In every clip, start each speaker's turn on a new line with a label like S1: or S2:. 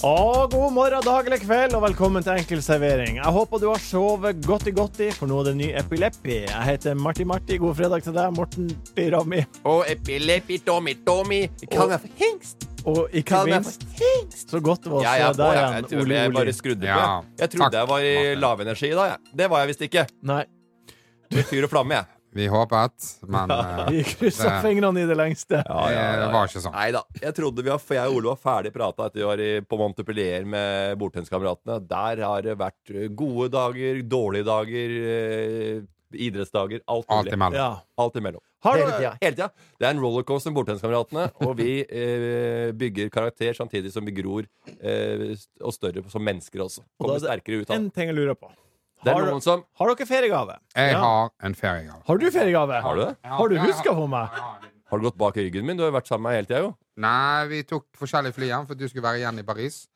S1: Å, god morgen, dag eller kveld, og velkommen til Enkel servering. Jeg håper du har sovet godti-godti, for nå er det ny epileppi. Jeg heter Marti-Marti. God fredag til deg, Morten Birami.
S2: Og epilepi domi domi. Kall meg for hingst.
S1: Og ikke
S2: Kall meg
S1: minst,
S2: for hingst.
S1: så godt det var å
S2: Ja,
S1: se
S2: ja, å,
S1: deg
S2: ja, jeg,
S1: igjen,
S2: tror
S1: Ole
S2: jeg
S1: Oli.
S2: bare skrudde på.
S3: Ja,
S2: jeg. Jeg trodde
S3: takk,
S2: jeg var i
S3: Martin.
S2: lavenergi i dag. jeg. Det var jeg visst ikke.
S1: Nei,
S2: Fyr og flamme, jeg.
S3: Vi håpet, men eh,
S1: vi kryssa
S3: det,
S1: fingrene i det lengste.
S3: det var ikke sånn.
S2: Nei da. Jeg trodde vi var, for jeg og Ole var ferdig prata etter vi var i, på Montepellier med bordtenniskameratene. Der har det vært eh, gode dager, dårlige dager, eh, idrettsdager, alt
S3: Alt
S2: mulig.
S3: imellom.
S1: Ja.
S2: Alt imellom.
S1: Har du-
S2: Hele tida. Hele tida. Det er en rollercoaster med bordtenniskameratene, og vi eh, bygger karakter samtidig som vi gror eh, st- og større som mennesker også.
S1: Og
S2: Kommer
S1: da er det
S2: sterkere ut av
S1: En
S2: det.
S1: ting jeg lurer på.
S2: Sånn. Det
S1: Har
S2: er
S1: du-
S2: noen som
S1: Har dere feriegave?
S3: Jeg
S1: Ja.
S3: har en feriegave.
S1: Har du feriegave?
S2: Har du det?
S1: Har du huska på meg?
S3: Jeg har en liten-
S2: Har du gått bak ryggen min? Du har jo vært sammen med meg hele tida, jo.
S3: Nei, vi tok forskjellige fly hjem, for du skulle være igjen i Paris.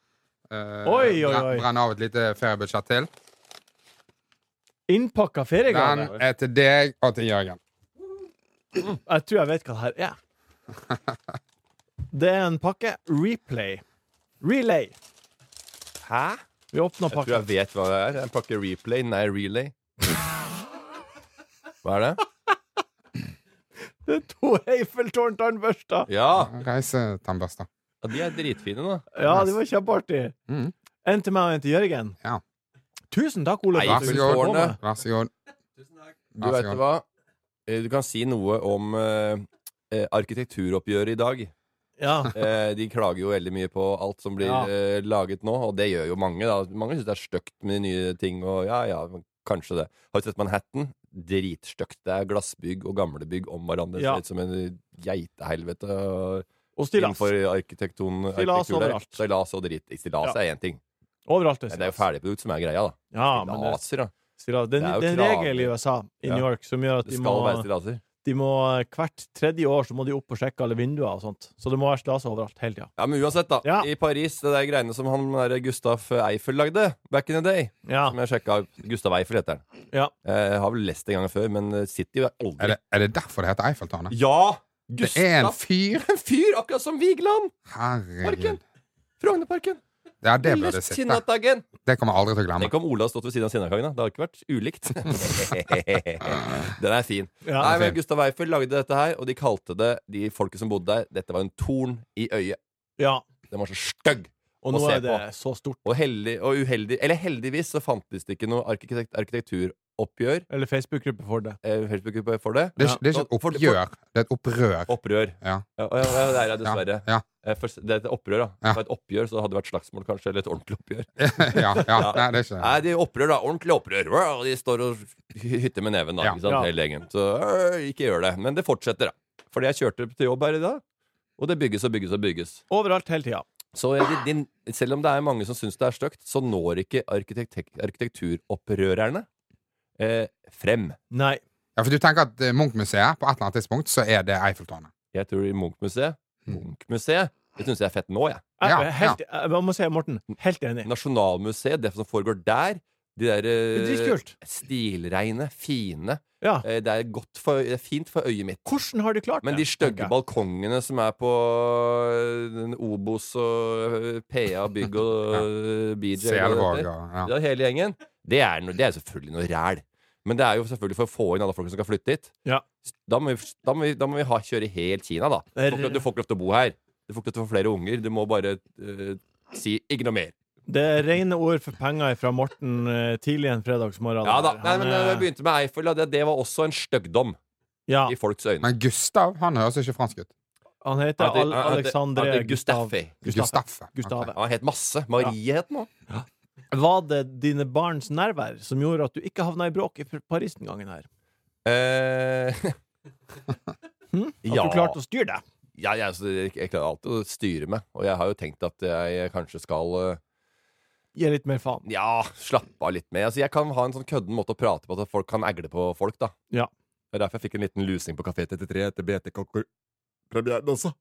S3: Uh,
S1: Oi, oi, oi.
S3: Brenne av et lite feriebudsjett til.
S1: Innpakka feriegave?
S3: Den er til deg og til Jørgen.
S1: Jeg tror jeg vet hva det her er. Det er en pakke Replay. Relay.
S2: Hæ?
S1: Vi åpner
S2: Jeg tror
S1: pakka.
S2: jeg vet hva det er. En pakke replay. Nei, relay. Hva er det?
S1: Det er to Eiffeltårn-tannbørster.
S2: Ja!
S3: Reisetannbørster.
S2: ja de er dritfine, da.
S1: Ja, det var kjempeartig.
S3: Mm.
S1: En til meg og en til Jørgen.
S3: Ja.
S1: Tusen takk, Ole. for at du ville stå på
S2: Eiffeltårnet.
S1: med.
S3: Vær så god.
S2: Du
S3: Vær så
S2: vet
S3: god.
S2: hva? Eh, Du kan si noe om eh, eh, arkitekturoppgjøret i dag.
S1: Ja.
S2: Eh, de klager jo veldig mye på alt som blir
S1: Ja.
S2: eh, laget nå, og det gjør jo mange. da Mange syns det er stygt med nye ting, og ja ja, kanskje det. Har du sett Manhattan? Dritstygt. Det er glassbygg og gamle bygg om hverandre. Det
S1: Ja.
S2: Ser ut som en geitehelvete. og-
S1: Og stillas.
S2: Innenfor arkitekton
S1: Stillas
S2: arkitektur der.
S1: overalt.
S2: Stillas og dritt. Stillas
S1: Ja.
S2: er én ting.
S1: Overalt.
S2: Men det er jo ferdigprodukt som er greia, da.
S1: Ja, men det,
S2: Stillaser, da.
S1: stillas. Det,
S2: Det
S1: er
S2: er jo
S1: det er en
S2: krav.
S1: regel i USA, i
S2: Ja.
S1: New York, som gjør at
S2: Det
S1: de
S2: skal
S1: må,
S2: være stillaser.
S1: de må eh, hvert tredje år så må de opp og sjekke alle vinduer og sånt. Så det må være stillas overalt hele tida.
S2: Ja, men uansett, da.
S1: Ja.
S2: I Paris, det der greiene som han der Gustav Eiffel lagde back in the day.
S1: Ja.
S2: Som jeg sjekka Gustav Eiffel heter han.
S1: Ja.
S2: Eh, Jeg har vel lest det en gang før, men City er
S3: Er
S2: aldri
S3: det, er det derfor det heter Eiffeltårnet?
S2: Ja!
S3: Det er en
S2: Gustav!
S3: fyr!
S2: En fyr, akkurat som Vigeland!
S3: Herregud.
S2: Parken. Frognerparken.
S3: Ja, det burde
S2: Lest
S3: jeg sett. da.
S2: Sinnataggen.
S3: Det kommer jeg aldri til å glemme.
S2: Tenk om Ola hadde stått ved siden av Sinnataggen, da. Det hadde ikke vært ulikt. Den er fin.
S1: Ja.
S2: Nei, men
S3: fint.
S2: Gustav Eiffel lagde dette her, og de kalte det, de folket som bodde der, dette var en torn i øyet.
S1: ja.
S2: Den var så stygg
S1: Og
S2: Å
S1: nå
S2: se
S1: er det så stort.
S2: og heldig og uheldig. Eller heldigvis så fantes det ikke noe arkitekt, arkitekturoppgjør
S1: Eller Facebook-gruppe for det.
S2: eh, Facebook-gruppe for det.
S3: Det er, ikke- det er ikke
S2: Ja.
S3: et oppgjør, det er et opprør.
S2: Opprør.
S3: Ja.
S2: Ja, og- ja, ja, det er jeg
S3: Ja,
S2: dessverre.
S3: ja,
S2: Eh, For, det er et opprør, da.
S3: Ja.
S2: Det var et oppgjør, så det hadde vært slagsmål, kanskje. Eller et ordentlig oppgjør.
S3: ja, ja. Nei, det er ikke
S2: Nei, de er opprør, da. Ordentlig opprør. Wow, De står og hy- hytter med neven, da.
S3: Ja.
S2: Ikke sant?
S1: Ja.
S2: Hele gjengen. Så øh, ikke gjør det. Men det fortsetter, da. Fordi jeg kjørte til jobb her i dag, og det bygges og bygges og bygges.
S1: Overalt hele tida.
S2: Så jeg, din, selv om det er mange som syns det er stygt, så når ikke arkitek arkitekturopprørerne eh, frem.
S1: Nei.
S3: Ja, for du tenker at eh, Munch-museet på et eller annet tidspunkt, så er det Eiffeltårnet.
S2: Jeg tror i Munch-museet
S1: Mm.
S2: Munch-museet, det syns jeg er fett nå, jeg.
S1: Jeg,
S3: Ja,
S1: jeg er helt, jeg, jeg må si, Morten, helt enig.
S2: Nasjonalmuseet, det som foregår der, de der
S1: Det er
S2: eh,
S1: Dritkult.
S2: stilreine, fine
S1: Ja.
S2: eh, Det er godt for Det er fint for øyet mitt.
S1: Hvordan har de klart
S2: Men
S1: det?
S2: de stygge
S1: tenker jeg?
S2: balkongene som er på eh, den Obos og eh, PA Bygg og eh, BJ og
S3: Selvåg
S2: det heter.
S3: og ja.
S2: ja, hele gjengen, det er, no, det er selvfølgelig noe ræl. Men det er jo selvfølgelig for å få inn alle folk som skal flytte dit.
S1: Ja.
S2: Da må vi, da må vi, da må vi ha, kjøre helt Kina, da. Du får, ikke, lov- du får ikke lov til å bo her. Du får ikke lov til å få flere unger. Du må bare eh, si 'ikke noe mer'.
S1: Det er rene ord for penger fra Morten eh, tidlig en fredagsmorgen.
S2: Ja da,
S1: Han
S2: Nei, men
S1: er-
S2: jeg begynte med Eiffel, og det, det var også en styggdom
S1: ja,
S2: i folks øyne.
S3: Men Gustav han høres ikke fransk ut.
S1: han heter Al
S2: Han heter- han heter- han
S1: Alexandre
S2: heter
S1: Gustav.
S2: Gustaffe.
S1: Gustave.
S3: Gustaffe.
S1: Gustave.
S3: Ok.
S2: Han het masse. Marie het nå.
S1: Var det dine barns nærvær som gjorde at du ikke havna i bråk i Paris den gangen her?
S2: Eh,
S1: Hm? At
S2: Ja.
S1: du klarte å styre deg?
S2: ja, jeg, altså, jeg, jeg klarer alltid å styre meg, og jeg har jo tenkt at jeg kanskje skal eh,
S1: gi litt mer faen.
S2: Ja, slapp av litt med. Altså, jeg kan ha en sånn kødden måte å prate på, så folk kan egle på folk, da.
S1: Ja.
S2: Det er derfor jeg fikk en liten lusing på Kafé 33 etter BT-konkurransen også.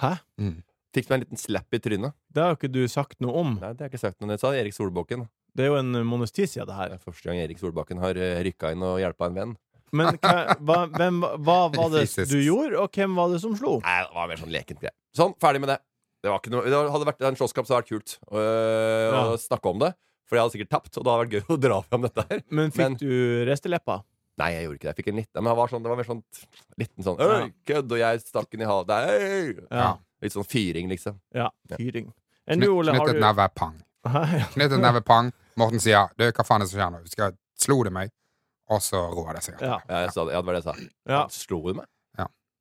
S1: Hæ?
S3: Mm.
S2: Fikk meg en liten slapp i trynet.
S1: Det har jo ikke du sagt noe om.
S2: Nei, det har jeg ikke sagt noe om. Det sa Erik Solbakken.
S1: Det er jo en måneds tid siden det her.
S2: Det er første gang Erik Solbakken har rykka inn og hjelpa en venn.
S1: Men hva, hva, hvem, hva var det
S3: Fysisk.
S1: du gjorde, og hvem var det som slo?
S2: Nei, det var mer sånn lekent greie. Sånn, ferdig med det. Det, var ikke noe, det hadde vært en slåsskamp, så hadde det vært kult øh,
S1: Ja.
S2: å snakke om det. For jeg hadde sikkert tapt, og det hadde vært gøy å dra fram dette her.
S1: Men fikk
S2: Men-
S1: du resteleppa?
S2: Nei, jeg gjorde ikke det. Jeg fikk en liten, men det var, sånn, det var mer sånn liten sånn
S1: Ja.
S2: Øy, kødd! Og jeg stakk den i havet. Nei!
S3: Ja.
S2: Litt sånn fyring, liksom.
S1: Ja,
S2: Ja.
S1: fyring. Enn du, Ole, har
S3: Knyttet
S1: du
S3: neve, pang.
S1: Hæ, ja.
S3: Knyttet neve, pang. Morten sier du, hva faen er det som skjer nå? Skal jeg slo det meg? Og så roer det seg.
S1: Ja.
S2: Ja, jeg sa det, ja, det var det jeg sa.
S1: Ja.
S2: Han Slo du meg?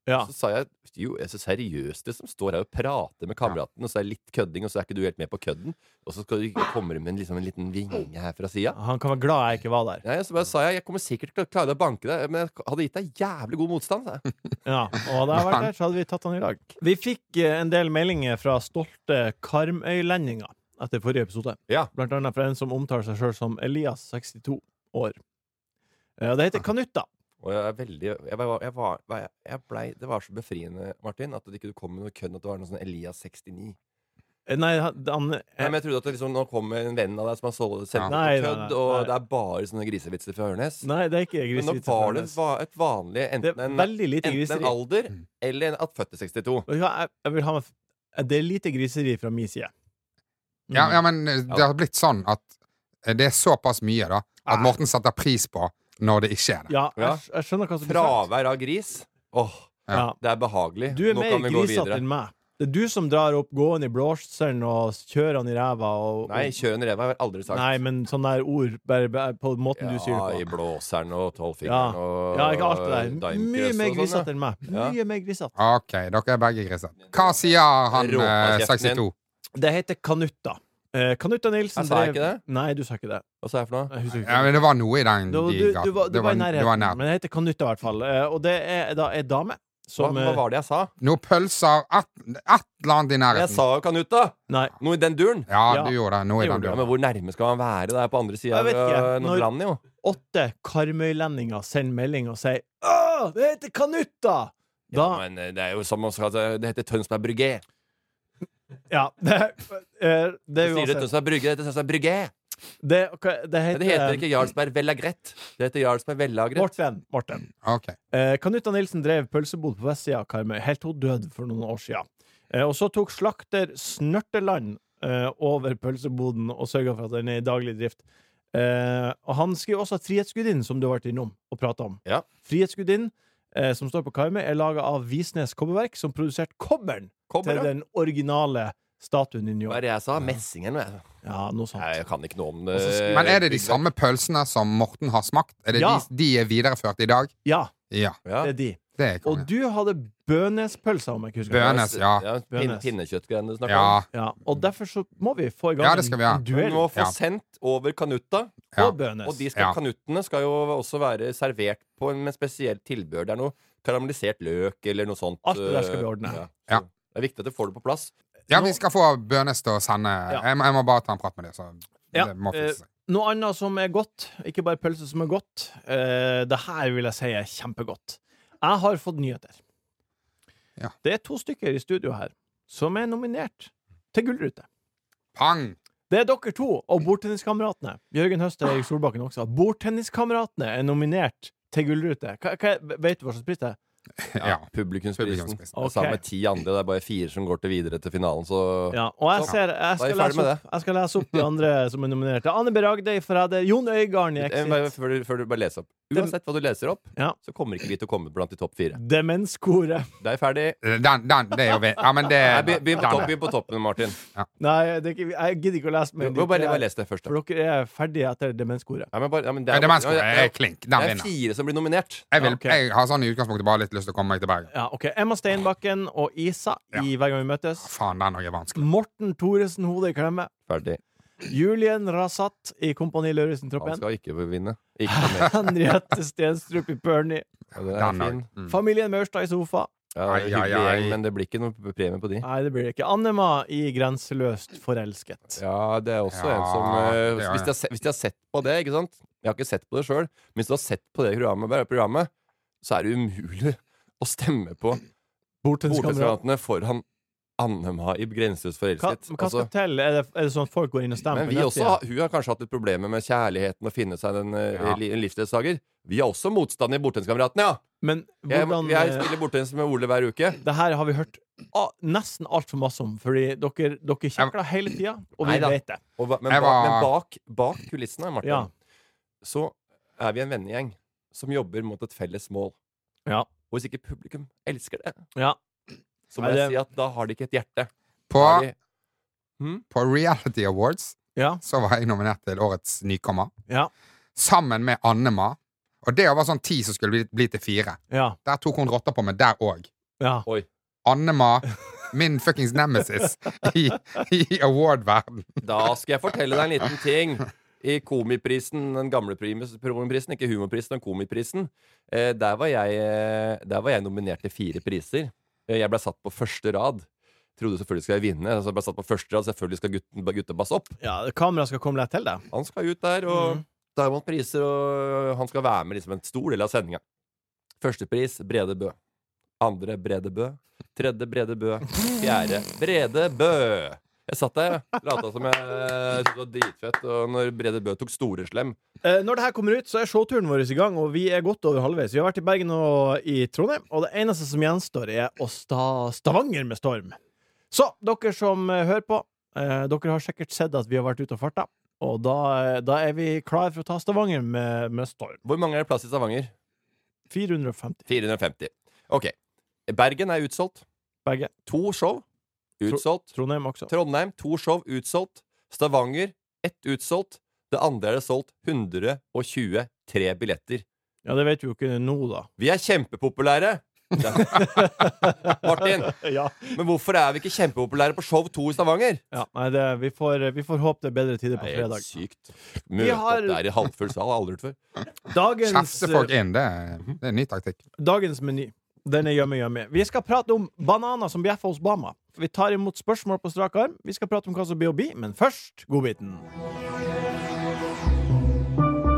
S1: Ja.
S2: Så sa jeg jo, jeg er så seriøst det som står her og prater med kameraten, og så er det litt kødding, og så er ikke du helt med på kødden. Og så skal du komme med en, liksom, en liten vinge her fra sida.
S1: Han kan være glad jeg ikke var der.
S2: Nei, så bare sa jeg jeg kommer sikkert til å klare å banke deg, men jeg hadde gitt deg jævlig god motstand. sa Jeg.
S1: Ja, og hadde jeg vært der, så hadde vi tatt han i dag. Vi fikk eh, en del meldinger fra stolte Karmøylendinger etter forrige episode.
S2: Ja.
S1: Blant annet fra en som omtaler seg sjøl som Elias, 62 år. Eh, Og det heter Kanutta.
S2: Og jeg er veldig jeg var, jeg var, jeg, blei, Det var så befriende, Martin, at det ikke du kom med noe kødd at det var noe sånn Elias 69.
S1: Eh, Nei, han han-
S2: Nei, men jeg trodde at det liksom, nå kommer en venn av deg som har solgt- sendt
S3: Ja.
S2: noe
S1: Nei, nei,
S2: kødd,
S1: nei,
S2: og
S1: nei.
S2: det er bare sånne grisevitser fra Ørnes.
S1: Nei, det er ikke
S2: Men nå
S1: grisevits.
S2: var det va et vanlig
S1: Det
S2: enten
S1: er
S2: en,
S1: veldig lite
S2: enten en
S1: griseri.
S2: alder
S3: Mm.
S2: eller en at født i 62.
S1: Vet du hva, Jeg, jeg vil ha med f- eh, Det er lite griseri fra min side. Mm.
S3: Ja, ja, men eh, det har blitt sånn at eh, det er såpass mye, da,
S1: Ah.
S3: at Morten setter pris på når det ikke er det.
S1: Ja,
S2: Ja.
S1: jeg, skj- jeg skjønner hva som blir sagt.
S2: Fravær av gris. Åh,
S1: Ja.
S2: det er behagelig.
S1: Du er
S2: Nå
S1: mer
S2: kan vi gå
S1: grisete
S2: videre.
S1: enn meg. Det er du som drar opp gående i blåseren og kjører han i ræva. Og, og,
S2: Nei, kjør en rev har jeg aldri sagt.
S1: Nei, men sånne der ord bare, bare på måten du sier
S2: i
S1: det på.
S2: blåseren og
S1: Ja.
S2: tolvfingeren og
S1: Ja, ikke alt det der.
S2: Daimkrøs
S1: Mye
S2: og
S1: mer
S2: sånn, ja.
S1: grisete enn meg.
S2: Ja.
S1: Mye mer grisete.
S3: OK, dere er begge grisete. Hva sier han eh,
S2: Råpa kjeften
S3: 62?
S1: Det heter Kanutta. Eh, Kanutta Nilsen
S2: Jeg sa
S1: drev-
S2: ikke det.
S1: Nei, du sa ikke det.
S2: Hva sa jeg for noe?
S1: Jeg husker ikke.
S3: Ja, men det var noe i den
S1: Du, du,
S3: de
S1: du,
S3: gaten.
S1: var, du
S3: Det
S1: var i
S3: det var
S1: nærheten,
S3: nær.
S1: men det heter Kanutta i hvert fall. Eh, og det er da ei dame
S2: Hva,
S1: som
S2: hva
S1: eh,
S2: var det jeg sa?
S3: Noe pølser, et et eller annet i
S2: Jeg
S3: nærheten.
S2: sa jo Kanuta!
S1: Nei.
S2: Noe i den duren.
S3: Ja,
S1: Ja.
S3: du gjorde det. Noe i
S1: Det
S3: den
S1: gjorde
S2: Ja,
S3: duren.
S2: men hvor nærme skal man være? Det er på andre sida
S1: Jeg
S2: av
S1: vet ikke.
S2: øh,
S1: Når-
S2: Nordland, jo.
S1: åtte Karmøylendinger sender melding og sier Åh, det heter Kanutta! Da,
S2: Ja, men eh, det er jo som å skal- Det heter Tønsberg Brygge.
S1: ja, det, eh, det
S2: Det,
S1: er
S2: sier det,
S1: uansett
S2: Tønsberg Brygge, det heter Tønsberg Brygge.
S1: det, ok, det
S2: Men
S1: heter, eh,
S2: Det heter ikke Jarlsberg Vellagrett. Det heter Jarlsberg Vellagrett.
S1: Morten. Morten.
S3: Ok.
S1: Eh, Kanutta Nilsen drev pølsebod på vestsida av Karmøy, helt til hun døde for noen år siden. Eh, og så tok slakter Snørteland eh, over pølseboden og sørga for at den er i daglig drift. Eh, og han skriver også at Frihetsgudinnen, som du har vært innom og prata om
S2: Ja.
S1: Frihetsgudinnen, eh, som står på Karmøy, er laga av Visnes Kobberverk, som produserte kobberen til
S2: Kommer, da.
S1: den originale statuen i New
S2: Hva
S1: York.
S2: er det jeg sa? Messing eller noe?
S1: Ja, noe
S2: Nei,
S1: sånt.
S2: Jeg kan ikke noe om
S1: Og så
S2: eh,
S1: skriver-
S3: Men er det de
S2: byggverk.
S3: samme pølsene som Morten har smakt? Er det
S1: Ja.
S3: de, de er videreført i dag?
S1: Ja,
S3: Ja,
S2: Ja.
S1: det er de.
S3: det er
S1: Og
S3: konge.
S1: du hadde bønespølser, om jeg ikke husker feil.
S3: Bønes, ja.
S2: pin,
S1: Bønes.
S2: Pinnekjøttgreiene du snakker om.
S3: Ja,
S1: Ja, og derfor så må vi få i gang
S3: Ja, det skal vi ha.
S1: en
S2: Du
S1: duell
S2: må få
S3: Ja.
S2: sendt over Kanuta.
S3: ja.
S1: og bønes.
S2: Og de skal,
S3: Ja.
S2: kanuttene skal jo også være servert på en med spesielt tilbehør. Det er noe karamellisert løk eller noe sånt. eh,
S1: Alt det der skal vi ordne.
S2: Ja.
S3: Ja.
S2: Så Det er viktig at du får det på plass.
S3: ja,
S1: Nå-
S3: vi skal få Bønes til å sende
S1: Ja.
S3: jeg, må- jeg må bare ta en prat med dem, så
S1: Ja,
S3: det må
S1: eh,
S3: fikse seg.
S1: Noe annet som er godt, ikke bare pølse som er godt, eh, det her vil jeg si er kjempegodt. Jeg har fått nyheter.
S3: Ja.
S1: Det er to stykker i studio her som er nominert til Gullrute.
S3: Pang!
S1: Det er dere to og bordtenniskameratene. Jørgen Høst og Erik Solbakken også. Bordtenniskameratene er nominert til Gullrute. Hva, hva, vet du hva slags pris det er?
S3: Ja.
S2: Publikumsprisen.
S3: Publikumsprisen.
S1: Ok.
S2: Sammen med ti andre. Det er bare fire som går til videre til finalen, så
S1: Ja, og jeg,
S2: Så,
S1: ser, jeg,
S2: da er
S1: skal
S2: vi ferdig
S1: lese
S2: med
S1: opp, jeg skal lese opp de andre som er nominert. Anne B. Ragde i Forræder. Jon Øigarden i
S2: Eh,
S1: Exit.
S2: bare- Før du, før du bare leser opp. Uansett hva du leser opp,
S1: Ja.
S2: så kommer ikke vi til å komme blant de topp fire.
S1: Demenskoret.
S2: Det er ferdig.
S3: Den, den, det er jo ved. Ja, men det
S2: Nei, be- Begynn på,
S3: den-
S2: topp- begynn på toppen, Martin.
S1: Nei, det er ikke, jeg gidder ikke å lese
S2: Du
S1: mer.
S2: må bare, bare les det først. da.
S1: For dere er ferdige etter demenskoret.
S2: Nei, men bare, ja, men det
S3: Ja,
S2: er,
S3: det er eh, mennesker. Jeg
S2: ja,
S3: er klink. Den
S2: det er
S3: vinner.
S2: fire som blir nominert.
S3: Jeg,
S1: Ja,
S3: vil,
S1: ok.
S3: jeg har sånn i utgangspunktet bare litt lyst til å komme meg til Bergen.
S1: Ja, ok. Emma Steinbakken og Isa i Hver gang vi møtes.
S3: Faen, den òg er vanskelig.
S1: Morten Thoresen, hodet i klemme.
S2: Ferdig.
S1: Julien Rasat i Kompani
S2: Han
S1: Lauritzen-troppen.
S2: skal ikke vinne. Ikke noe mer.
S1: Henriette Stenstrup i Pernie.
S2: Ja, Den
S3: Den
S2: er
S3: òg.
S2: fin.
S3: Mm.
S1: Familien Maurstad i sofa.
S2: Ja, det er
S3: Ai, ai,
S2: hyggelig
S3: ai.
S2: gjeng, men det blir ikke noe premie på de.
S1: Nei, det blir det ikke. Annema i Grenseløst forelsket.
S2: Ja, det er også
S3: Ja,
S2: en som eh,
S3: det er
S2: hvis, de har, se- hvis de har sett på det, ikke sant Jeg har ikke sett på det sjøl, men hvis du har sett på det programmet, programmet så er det umulig å stemme på
S1: Bordtenniskamerat.
S2: Bordtenniskandidatene foran Annema i Grenseløst
S1: Hva,
S2: forelsket.
S1: men hva skal
S2: Altså,
S1: til? Er det, er det sånn at folk går inn og stemmer?
S2: men vi
S1: på
S2: også,
S1: nettsiden?
S2: har- hun har kanskje hatt litt problemer med kjærligheten og finne seg en,
S3: Ja.
S2: ja. en livsledsager. Vi har også motstand i Bordtenniskameratene, ja!
S1: Men
S2: Jeg,
S1: hvordan
S2: jeg
S1: eh,
S2: spiller bordtennis med Ole hver uke.
S1: Det her har vi hørt ah, nesten altfor masse om, fordi dere, dere kjekler hele tida, og vi
S2: Neida.
S1: vet det.
S2: Og, ba- men
S3: Jeg
S2: bak, men
S3: var-
S2: bak, bak kulissene, Martin,
S1: Ja.
S2: så er vi en vennegjeng som jobber mot et felles mål.
S1: Ja.
S2: Og hvis ikke publikum elsker det,
S1: Ja.
S2: så må
S1: Nei,
S2: jeg
S1: det-
S2: si at da har de ikke et hjerte.
S3: På,
S2: Da er de-
S3: på Reality Awards
S1: Ja.
S3: så var jeg nominert til årets nykommer.
S1: Ja.
S3: Sammen med Annema. Og det var sånn ti som skulle bli, bli til fire.
S1: Ja.
S3: Der tok hun rotta på meg der òg.
S1: ja.
S2: Oi.
S3: Annema, min fuckings nemesis i, i award-verden.
S2: Da skal jeg fortelle deg en liten ting. I Komiprisen, den gamle primus- prisen, ikke humorprisen, men Komiprisen, eh, der, var jeg, eh, der var jeg nominert til fire priser. Eh, Jeg ble satt på første rad. Trodde selvfølgelig skulle jeg vinne. Altså jeg ble satt på første rad, Selvfølgelig skal gutten, gutta basse opp.
S1: ja Kameraet skal komme lett til deg.
S2: Han skal ut der, og
S1: Mhm.
S2: der vant priser, og han skal være med liksom en stor del av sendinga. Førstepris Brede Bø. Andre Brede Bø. Tredje Brede Bø. Fjerde Brede Bø. Jeg satt der, lata som jeg syntes det var dritfett, og når Brede Bø tok Storeslem
S1: Eh, når det her kommer ut, så er showturen vår i gang, og vi er godt over halvveis. Vi har vært i Bergen og i Trondheim, og det eneste som gjenstår, er å sta Stavanger med storm. Så dere som eh, hører på, eh, dere har sikkert sett at vi har vært ute og farta, og da, eh, da er vi klare for å ta Stavanger med, med storm.
S2: Hvor mange er det plass i Stavanger?
S1: 450
S2: 450. Ok. Bergen er utsolgt.
S1: begge.
S2: To show utsolgt.
S1: Trondheim også.
S2: Trondheim to show utsolgt. Stavanger ett utsolgt. Det andre er det solgt 123 billetter.
S1: Ja, det vet vi jo ikke nå, da.
S2: Vi er kjempepopulære! Martin,
S1: ja.
S2: men hvorfor er vi ikke kjempepopulære på show 2 i Stavanger?
S1: Ja, nei, det, vi, får, vi får håpe det er bedre tider på
S2: Det er helt
S1: fredag.
S2: sykt.
S1: Vi
S2: Møte
S1: har-
S2: opp der i halvfull sal. har Aldri gjort før.
S1: Dagens, eh,
S3: Kjefte folk inn. Det, er- det er en ny taktikk.
S1: dagens meny. Den er gjemme, gjemme. Vi skal prate om bananer som bjeffer hos Bama. Vi tar imot spørsmål på strak arm. Vi skal prate om hva som blir å bli, men først godbiten.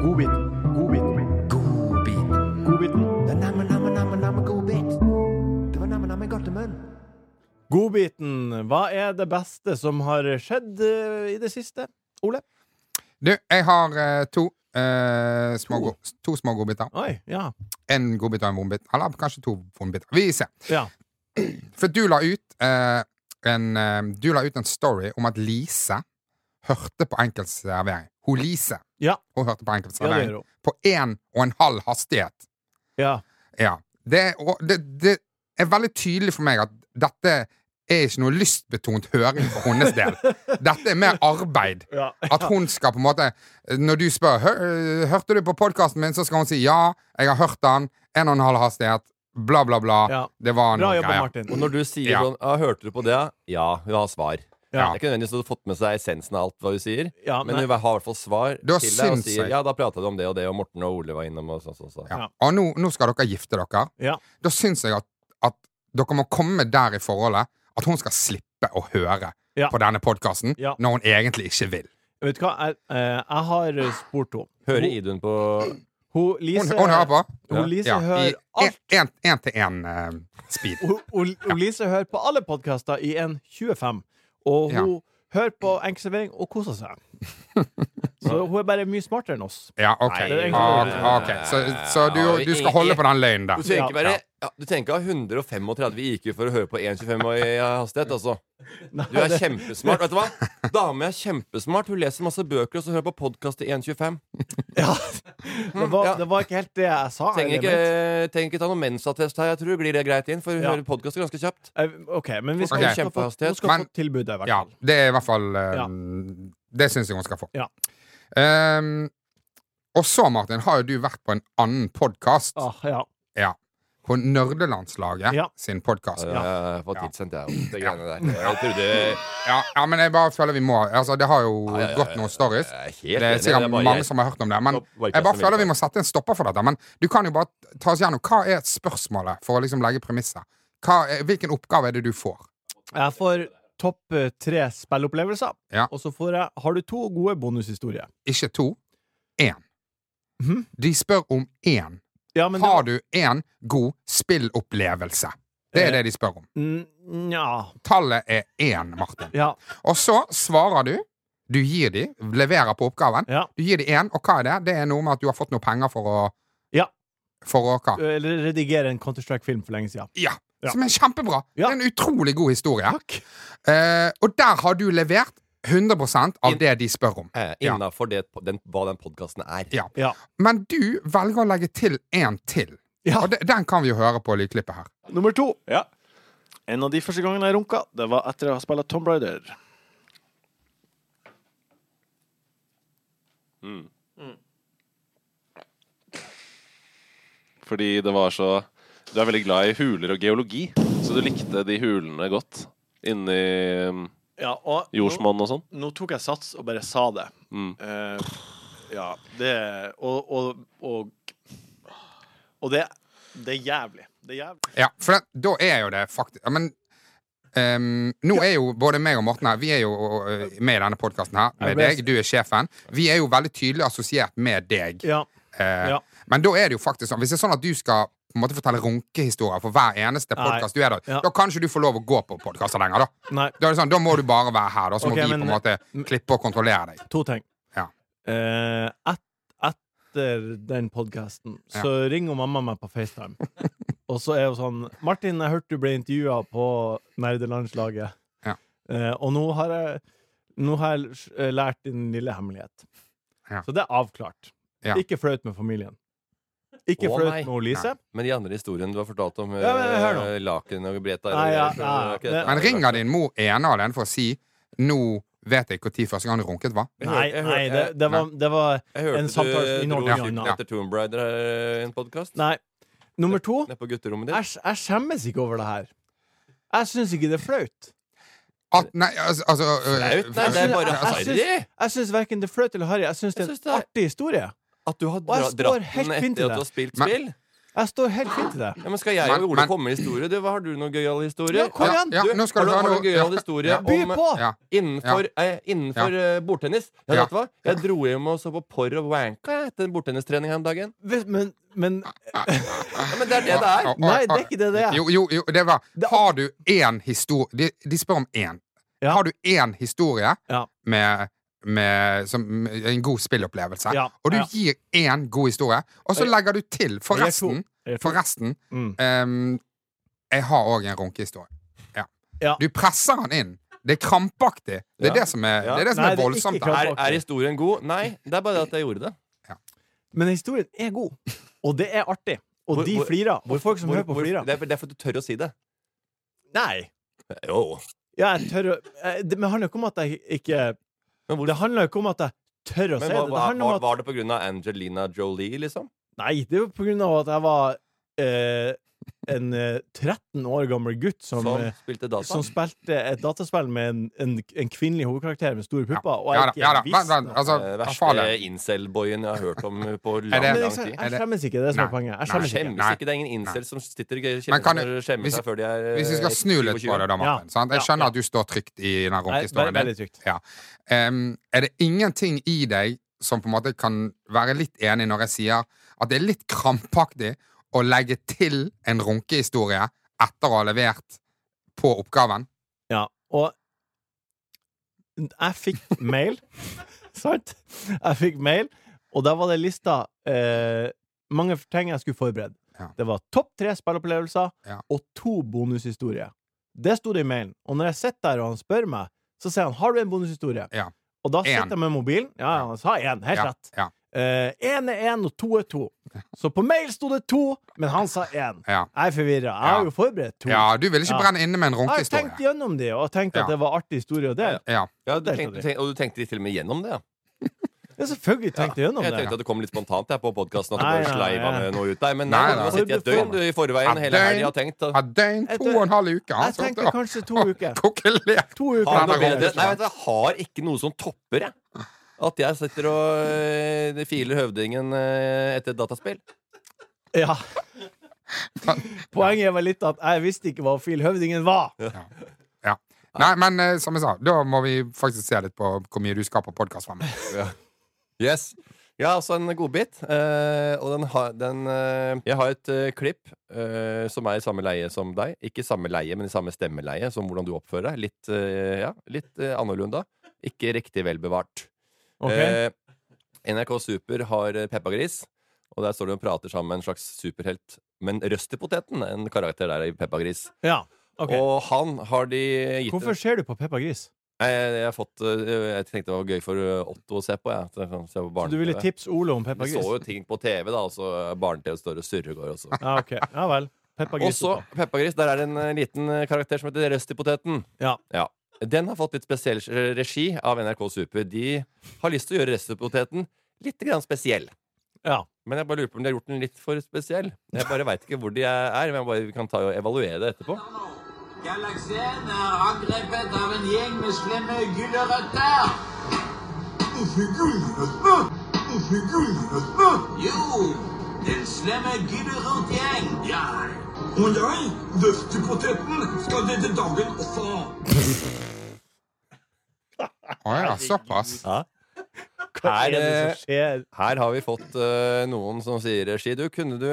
S1: Godbiten. Godbiten. Godbiten. Godbiten. Hva er det beste som har skjedd eh, i det siste? Ole?
S3: Du, jeg har eh, to, eh,
S1: To?
S3: små go- to små godbiter.
S1: Oi, ja.
S3: En godbit og en vondbit. Eller kanskje to vondbiter. Vi ser.
S1: Ja.
S3: For du la ut eh, en, eh, Du la ut en story om at Lise hørte på enkeltservering. Hun Lise
S1: Ja.
S3: Hun hørte på
S1: Ja, det
S3: enkeltservering
S1: gjør hun.
S3: på én og en halv hastighet.
S1: Ja.
S3: Ja. Det, er- og det, det er veldig tydelig for meg at dette er ikke noe lystbetont høring for hennes del. Dette er mer arbeid.
S1: Ja.
S3: At hun skal på en måte Når du spør «Hør- Hørte du på podkasten min, så skal hun si ja, jeg har hørt den. En og en halv hastighet. Bla, bla, bla.
S1: Ja.
S3: Det var
S1: Bra
S3: noe
S1: jobba,
S3: greier.
S1: Martin.
S2: Og når du sier
S3: Ja.
S2: sånn ja, 'Hørte du på det?' Ja, hun har svar.
S1: Ja.
S2: Det er ikke nødvendigvis at du har fått med seg essensen av alt hva du sier,
S1: Ja,
S2: men
S1: nei.
S2: hun har i hvert fall svar
S3: Det var
S2: til deg og sier
S3: sinnssykt.
S2: 'Ja, da prata du om det og det, og Morten og Ole var innom', og sånn, sånn, sånn.
S3: Ja.
S1: Ja.
S3: Og nå, nå skal dere gifte dere.
S1: Ja.
S3: Da syns jeg at, at dere må komme der i forholdet at hun skal slippe å høre
S1: Ja.
S3: på denne podkasten
S1: Ja.
S3: når hun egentlig ikke vil.
S1: Vet du hva, jeg, eh, jeg har spurt henne.
S2: Hører Idun på
S1: Hun Lise,
S3: Hun, hun hører på.
S1: Hun Lise
S3: Ja,
S1: hører
S3: I
S1: alt.
S3: eh, én-til-én-speed.
S1: Hun, hun, hun Lise hører på alle podkaster i 1.25, og hun hører på enkeltservering og koser seg. Så hun er bare mye smartere enn oss.
S3: ja, OK.
S2: Nei, det
S1: er egentlig-
S3: Ah, ok. Så, så du, du skal holde på den løgnen
S2: Du
S3: der.
S2: trenger ikke
S1: Ja.
S2: være ja, Du trenger ikke ha 135 i IQ for å høre på 1,25 i hastighet, altså. Du er kjempesmart. Vet du hva? Dame er kjempesmart. Hun leser masse bøker og så hører på podkast i 1,25.
S1: Ja. Det, var,
S2: ja.
S1: det var ikke helt det jeg sa.
S2: Trenger
S1: eller
S2: ikke,
S1: mente.
S2: trenger ikke ta noen mensattest her. Jeg tror glir det greit inn, for hun
S1: Ja.
S2: hører podkaster ganske kjapt.
S1: Eh, OK, men vi skal, hun skal, få,
S3: Ok.
S1: hun
S2: Kjempehastighet.
S1: skal
S3: Men-
S1: få tilbudet, i hvert
S3: Ja,
S1: fall.
S3: det er i hvert fall eh,
S1: Ja.
S3: Det syns jeg hun skal få.
S1: Ja.
S3: Ehm, og så, Martin, har jo du vært på en annen podkast.
S1: Ah, ja.
S3: Ja. På Nerdelandslaget
S1: Ja.
S3: sin podkast.
S2: Ja. Eh, Jeg var tidssendt, jeg. og Det greiene der. Jeg trodde
S3: Ja, ja, men jeg bare føler vi må Altså, det har jo gått noen stories.
S2: Jeg er helt
S3: Det
S2: enig,
S3: er sikkert
S2: er bare-
S3: mange som har hørt om det. Men
S2: Det var ikke
S3: jeg bare
S2: jeg som
S3: føler vi
S2: ville.
S3: må sette en stopper for dette. Men du kan jo bare ta oss gjennom hva er spørsmålet, for å liksom legge premisset. hva, eh, hvilken oppgave er det du får?
S1: Jeg får topp eh, tre spillopplevelser,
S3: Ja.
S1: og så får jeg Har du to gode bonushistorier?
S3: Ikke to. Én.
S1: Mhm.
S3: De spør om én.
S1: Ja, men
S3: Har
S1: det-
S3: du én god spillopplevelse? Det
S1: Eh.
S3: er det de spør om.
S1: Mm, Nja
S3: Tallet er én, Martin.
S1: Ja.
S3: Og så svarer du. Du gir de, leverer på oppgaven.
S1: ja.
S3: Du gir de én, og hva er det? Det er noe med at du har fått noe penger for å
S1: Ja.
S3: For å hva?
S1: Eller redigere en Counter-Strike-film for lenge siden.
S3: Ja.
S1: Ja.
S3: Som er kjempebra.
S1: Ja.
S3: Det er en utrolig god historie.
S1: Takk.
S3: Eh, og der har du levert 100 av
S2: In-
S3: det de spør om.
S2: Eh,
S3: Ja.
S2: Innafor den, hva den podkasten er.
S3: Ja.
S1: Ja.
S3: Men du velger å legge til én til.
S1: Ja.
S3: Og de, den kan vi jo høre på lydklippet her.
S1: Nummer to. En av de første gangene jeg runka, det var etter å ha spilt Tomb Raider.
S4: Mm. Fordi det var så Du er veldig glad i huler og geologi, så du likte de hulene godt. Inni mm,
S1: Ja, og nå,
S4: jordsmonn og sånn.
S1: nå tok jeg sats og bare sa det.
S4: Mm.
S1: Eh, ja, det Og Og, og, og det, det er jævlig. Det er jævlig.
S3: Ja, for det, da er jo det faktisk ja, Men ehm, nå er jo både meg og Morten her Vi er jo øh, med i denne podkasten her. Med
S1: Jeg
S3: deg,
S1: ble-
S3: du er sjefen. Vi er jo veldig tydelig assosiert med deg.
S1: Ja.
S3: Eh,
S1: Ja.
S3: Men da er det jo faktisk sånn hvis det er sånn at du skal på en måte fortelle runkehistorier for hver eneste
S1: Nei.
S3: podkast du er der,
S1: Ja.
S3: da kan ikke du få lov å gå på podkaster lenger. da
S1: Nei,
S3: Da er det sånn, da må du bare være her, da, så
S1: Ok,
S3: må vi
S1: men-
S3: på en måte klippe og kontrollere deg.
S1: to ting.
S3: Ja.
S1: Eh, et, etter den podkasten så ringer mamma meg på FaceTime. og så er hun sånn 'Martin, jeg hørte du ble intervjua på nerdelandslaget.'
S3: Ja.
S1: Eh, og nå har jeg Nå har jeg s- eh, lært din lille hemmelighet.
S3: Ja.
S1: Så det er avklart.
S3: Ja.
S1: Ikke flaut med familien. Ikke
S2: Å, nei.
S1: flaut med Lise.
S2: Men de andre historiene du har fortalt om
S1: Ja, men hør nå.
S2: eh, laken og bretta
S1: Nei, ja,
S2: det
S1: ja.
S2: var ikke dette.
S3: Men ringer din mor ene og alene for å si 'Nå vet jeg når første gang du runket var'?
S2: Jeg
S1: Nei,
S2: hør- jeg hør-
S1: nei det, det var, det var
S2: Jeg hørte
S1: en samtale som
S2: du
S1: inneholdt
S2: dro
S1: mye
S2: stygt
S1: annet.
S2: etter Tomb Raider eh, en podkast.
S1: Nei. Nummer to
S2: Nede på gutterommet ditt.
S1: Jeg, jeg skjemmes ikke over det her. Jeg syns ikke det er flaut.
S3: At, nei, altså, altså øh,
S2: Flaut? Nei, det
S1: Jeg
S2: er
S1: synes- jeg-
S2: bare
S1: jeg synes-
S2: harry!
S1: Jeg syns verken det er flaut eller harry. Jeg syns det er
S2: Jeg
S1: en
S2: synes det er-
S1: artig historie.
S2: At du har
S1: jeg
S2: dra,
S1: står
S2: dratt
S1: helt
S2: den
S1: fint i
S2: etter at
S1: det.
S2: du har spilt
S3: Men-
S2: spill.
S1: Jeg står helt fint i det.
S2: Ja, men skal jeg
S3: Men-
S2: og Ole
S3: men-
S2: komme med historie? Du, hva har du noen gøyal historie?
S1: Ja, kom
S3: Ja,
S1: igjen!
S3: ja,
S2: Du,
S3: nå skal du
S2: har
S3: ha
S2: du,
S3: noe
S2: har du en gøyal historie
S3: ja.
S1: By
S2: om
S1: på!
S3: Ja.
S2: innenfor, eh, innenfor eh, bordtennis? Ja,
S3: Ja.
S2: Vet du hva? Jeg dro hjem og så på porr og wanka jeg, etter en bordtennistrening her om dagen.
S1: Hvis- Men, men
S2: Ja, men det er det det er.
S3: Og- og-
S1: Nei, det er ikke det det er.
S3: Jo, jo, jo det var
S1: Det er-
S3: Har du én historie de, de spør om én.
S1: Ja.
S3: Har du én historie
S1: Ja.
S3: med, med, som, med en god spillopplevelse,
S1: Ja,
S3: og du
S1: ja.
S3: gir én god historie, og så
S1: Jeg-
S3: legger du til for
S1: Jeg er
S3: resten
S1: Jeg er to.
S3: For resten
S1: Mm.
S3: ehm, Jeg har òg en runkehistorie. Ja.
S1: Ja.
S3: Du presser han inn. Det er krampaktig. Det
S2: Ja.
S3: er det som er,
S2: Ja.
S3: det er, det som
S1: Nei,
S3: er
S1: det er
S3: voldsomt.
S1: ikke
S3: her.
S2: er. Er historien god? Nei, det er bare det at jeg gjorde det.
S1: Men historien er god. Og det er artig. Og
S2: Hvor-
S1: de
S2: hvor-
S1: flirer. Og folk som
S2: Hvor-
S1: hører på,
S2: hvor-
S1: flirer.
S2: Det er, det er for at du tør å si det.
S1: Nei.
S2: Jo.
S1: Ja, jeg tør å eh, det- Men det handler jo ikke om at jeg ikke
S2: Men hvor-
S1: Det handler jo ikke om at jeg tør å si det.
S2: Men hva,
S1: Det
S2: hva,
S1: handler
S2: var,
S1: om at
S2: var det på grunn av Angelina Jolie, liksom?
S1: Nei, det er jo på grunn av at jeg var eh, en eh, 13 år gammel gutt som,
S2: Som
S1: eh,
S2: spilte data?
S1: som spilte et dataspill med en, en, en kvinnelig hovedkarakter med store pupper. Og
S3: Ja
S1: jeg
S3: da,
S1: ikke
S3: ja da. Vent,
S1: visste
S3: vent.
S1: noe.
S3: Altså,
S2: Eh,
S3: hva faen
S2: verste
S3: er det?
S2: incel-boyen jeg har hørt om på lang,
S3: Er det-
S1: Men
S2: lang
S1: jeg,
S2: tid.
S1: jeg skjemmes ikke, det er det som er
S3: Nei.
S1: poenget. Jeg
S3: Nei.
S1: skjemmes ikke.
S2: Skjemmes
S3: Nei.
S2: ikke. Det er ingen incel som sitter og
S3: Men kan
S2: skjemmer
S3: du-
S2: skjemmer
S3: hvis-
S2: seg før de er eh,
S3: Hvis vi skal snu litt på det, da, Martin. Sant? Jeg
S1: Ja, ja.
S3: skjønner at du står trygt i den
S1: Nei,
S3: runkehistorien
S1: veldig-
S3: din.
S1: veldig trygt.
S3: Ja. Ehm, er det ingenting i deg som på en måte kan være litt enig når jeg sier at det er litt krampaktig å legge til en runkehistorie etter å ha levert på oppgaven?
S1: Ja, og jeg fikk mail, sant? Jeg fikk mail, og der var det lista eh, mange ting jeg skulle forberede.
S3: Ja.
S1: Det var topp tre spillopplevelser
S3: Ja.
S1: og to bonushistorier. Det sto det i mailen. Og når jeg sitter der og han spør meg, så sier han 'Har du en bonushistorie?'
S3: Ja.
S1: Og da
S3: En.
S1: sitter jeg med mobilen. Ja, ja, han sa én. Helt
S3: Ja,
S1: rett.
S3: ja.
S1: Én er én, Eh, og to er to. Så på mail sto det to, men han sa én.
S3: Ja.
S1: Jeg er forvirra. Jeg har
S3: Ja.
S1: jo forberedt to.
S3: ja, du vil ikke
S1: Ja.
S3: brenne inne med en
S1: Jeg har tenkt
S3: runkehistorie.
S1: gjennom det, og tenkt at
S3: Ja.
S1: det var artig historie. Og det
S3: Ja.
S2: Ja, du
S1: Det er
S2: tenkte,
S1: sant.
S2: tenk- og du tenkte litt til og med gjennom det, ja.
S1: Jeg har selvfølgelig tenkt gjennom
S2: Jeg
S1: det.
S2: tenkte at det kom litt spontant her på podkasten. At du
S1: Nei, nei,
S2: bare sleiva
S1: nei.
S2: med noe ut der. Men nei,
S3: Nei,
S2: du
S3: nei.
S2: har sittet i et døgn du, i forveien
S3: Et
S2: hele helga
S3: døgn.
S2: og tenkt at-
S3: Ja, døgn, to og en halv uke. Han
S1: Jeg
S3: satt
S1: tenkte
S3: og-
S1: kanskje to uker.
S3: Kokkelert.
S1: To
S2: har
S1: uker.
S2: noe
S3: det går
S2: bedre.
S3: ikke.
S2: Nei, vet du, jeg har ikke noe som topper, jeg. At jeg sitter og eh, øh, filer høvdingen øh, etter et dataspill.
S1: Ja. Poenget var litt at jeg visste ikke hva Phil Høvdingen var.
S3: Ja. Nei, men eh, som jeg sa, da må vi faktisk se litt på hvor mye du skaper podkast fremover.
S2: Yes. Jeg har også en godbit. eh, og den har, den, eh, jeg har et eh, klipp eh, som er i samme leie som deg. Ikke i samme leie, men i samme stemmeleie som hvordan du oppfører deg. Litt, eh, ja, litt eh, annorlunda. Ikke riktig vel bevart. Eh, NRK Super har eh, Peppa Gris, og der står de og prater sammen med en slags superhelt. Men Røst i poteten, en karakter der i Peppa Gris.
S1: Ja, ok
S2: Og han har de gitt
S1: Hvorfor ser du på Peppa Gris?
S2: Nei, Jeg, jeg, har fått, eh, jeg tenkte det var gøy for eh, Otto å se på. Jeg, at jeg kan se på
S1: Så du ville
S2: barne-TV.
S1: tipse Ole om Peppa
S2: Vi så
S1: Gris?
S2: jo ting på TV, da, altså, og så barne-TV står og surrer går også.
S1: Ja, ok. Ja vel. Peppa
S2: Og
S1: Gris.
S2: så Peppa Gris. Der er det en eh, liten eh, karakter som heter Røst i poteten.
S1: Ja.
S2: Den har fått litt spesiell eh, regi av NRK Super. De har lyst til å gjøre Røst i poteten litt grann spesiell.
S1: Ja.
S2: Men jeg bare lurer på om de har gjort den litt for spesiell. Jeg bare veit ikke hvor de er. Men jeg bare, vi kan ta og evaluere det etterpå.
S5: Galaxien er angrepet av en gjeng med slemme gulrøtter. Ikke gulrøtter? Ikke gulrøtter? Jo, den slemme gulrotgjeng. Ja. Og jeg, døftepoteten, skal denne dagen også.
S3: Å ja, såpass.
S1: Hva er det
S2: Her, eh,
S1: som skjer?
S2: Her har vi fått eh, noen som sier regi. Du, kunne du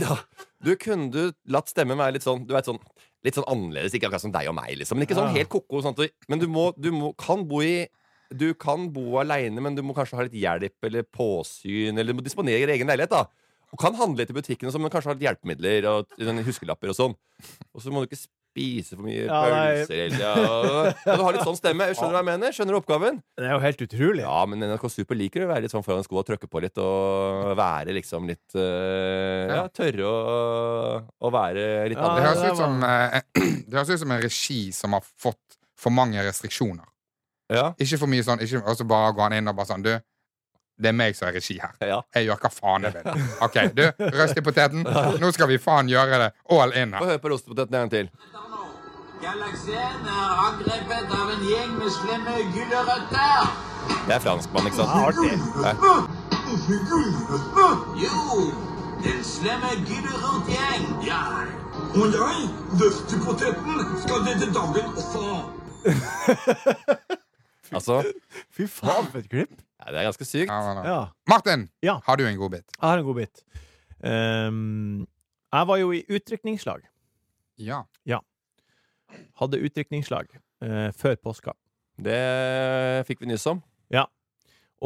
S2: Ja, du kunne du latt stemmen være litt sånn Du vet sånn Litt sånn annerledes, ikke akkurat som deg og meg, liksom. Men ikke sånn
S1: Ja.
S2: helt koko. Sånn, at du- men du må, du må kan bo i Du kan bo aleine, men du må kanskje ha litt hjelp eller påsyn, eller du må disponere egen leilighet, da. Og kan handle litt i butikken, og sånn, men kanskje ha litt hjelpemidler og sånn huskelapper og sånn. Og så må du ikke spise for mye
S1: Ja, nei.
S2: pølser eller ja, og Du har litt sånn stemme. Skjønner du hva jeg mener? Skjønner du oppgaven?
S1: Det er jo helt utrolig.
S2: Ja, men NRK Super liker å være litt sånn foran skoa, trykke på litt og være liksom litt eh, Ja, tørre å, å være litt
S1: Ja,
S3: Det høres,
S1: det
S3: ut som, eh, det høres ut som en regi som har fått for mange restriksjoner.
S2: Ja.
S3: Ikke for mye sånn, ikke, og så bare går han inn og bare sånn Du, det er meg som er regi her.
S2: ja.
S3: Jeg gjør hva faen jeg vil. OK, du, røst i poteten. Nå skal vi faen gjøre det all in
S2: Få
S3: her.
S2: høre på rostepoteten en gang til.
S5: Galaxien er angrepet av en gjeng med slemme gulrøtter.
S2: Jeg er franskmann, ikke sant?
S5: Ikke gulrøtter? Jo, den slemme gulrotgjeng. Ja. Og jeg, døftepoteten, skal denne dagen også.
S2: Altså,
S1: Fy faen, for et klipp!
S2: ja, det er ganske sykt.
S3: Ja, ja, ja.
S1: Ja.
S3: Martin,
S1: Ja.
S3: har du en god bit?
S1: Jeg har en god bit. Ehm, jeg var jo i utdrikningslag.
S3: Ja.
S1: Hadde utdrikningslag eh, før påska.
S2: Det fikk vi nyss om.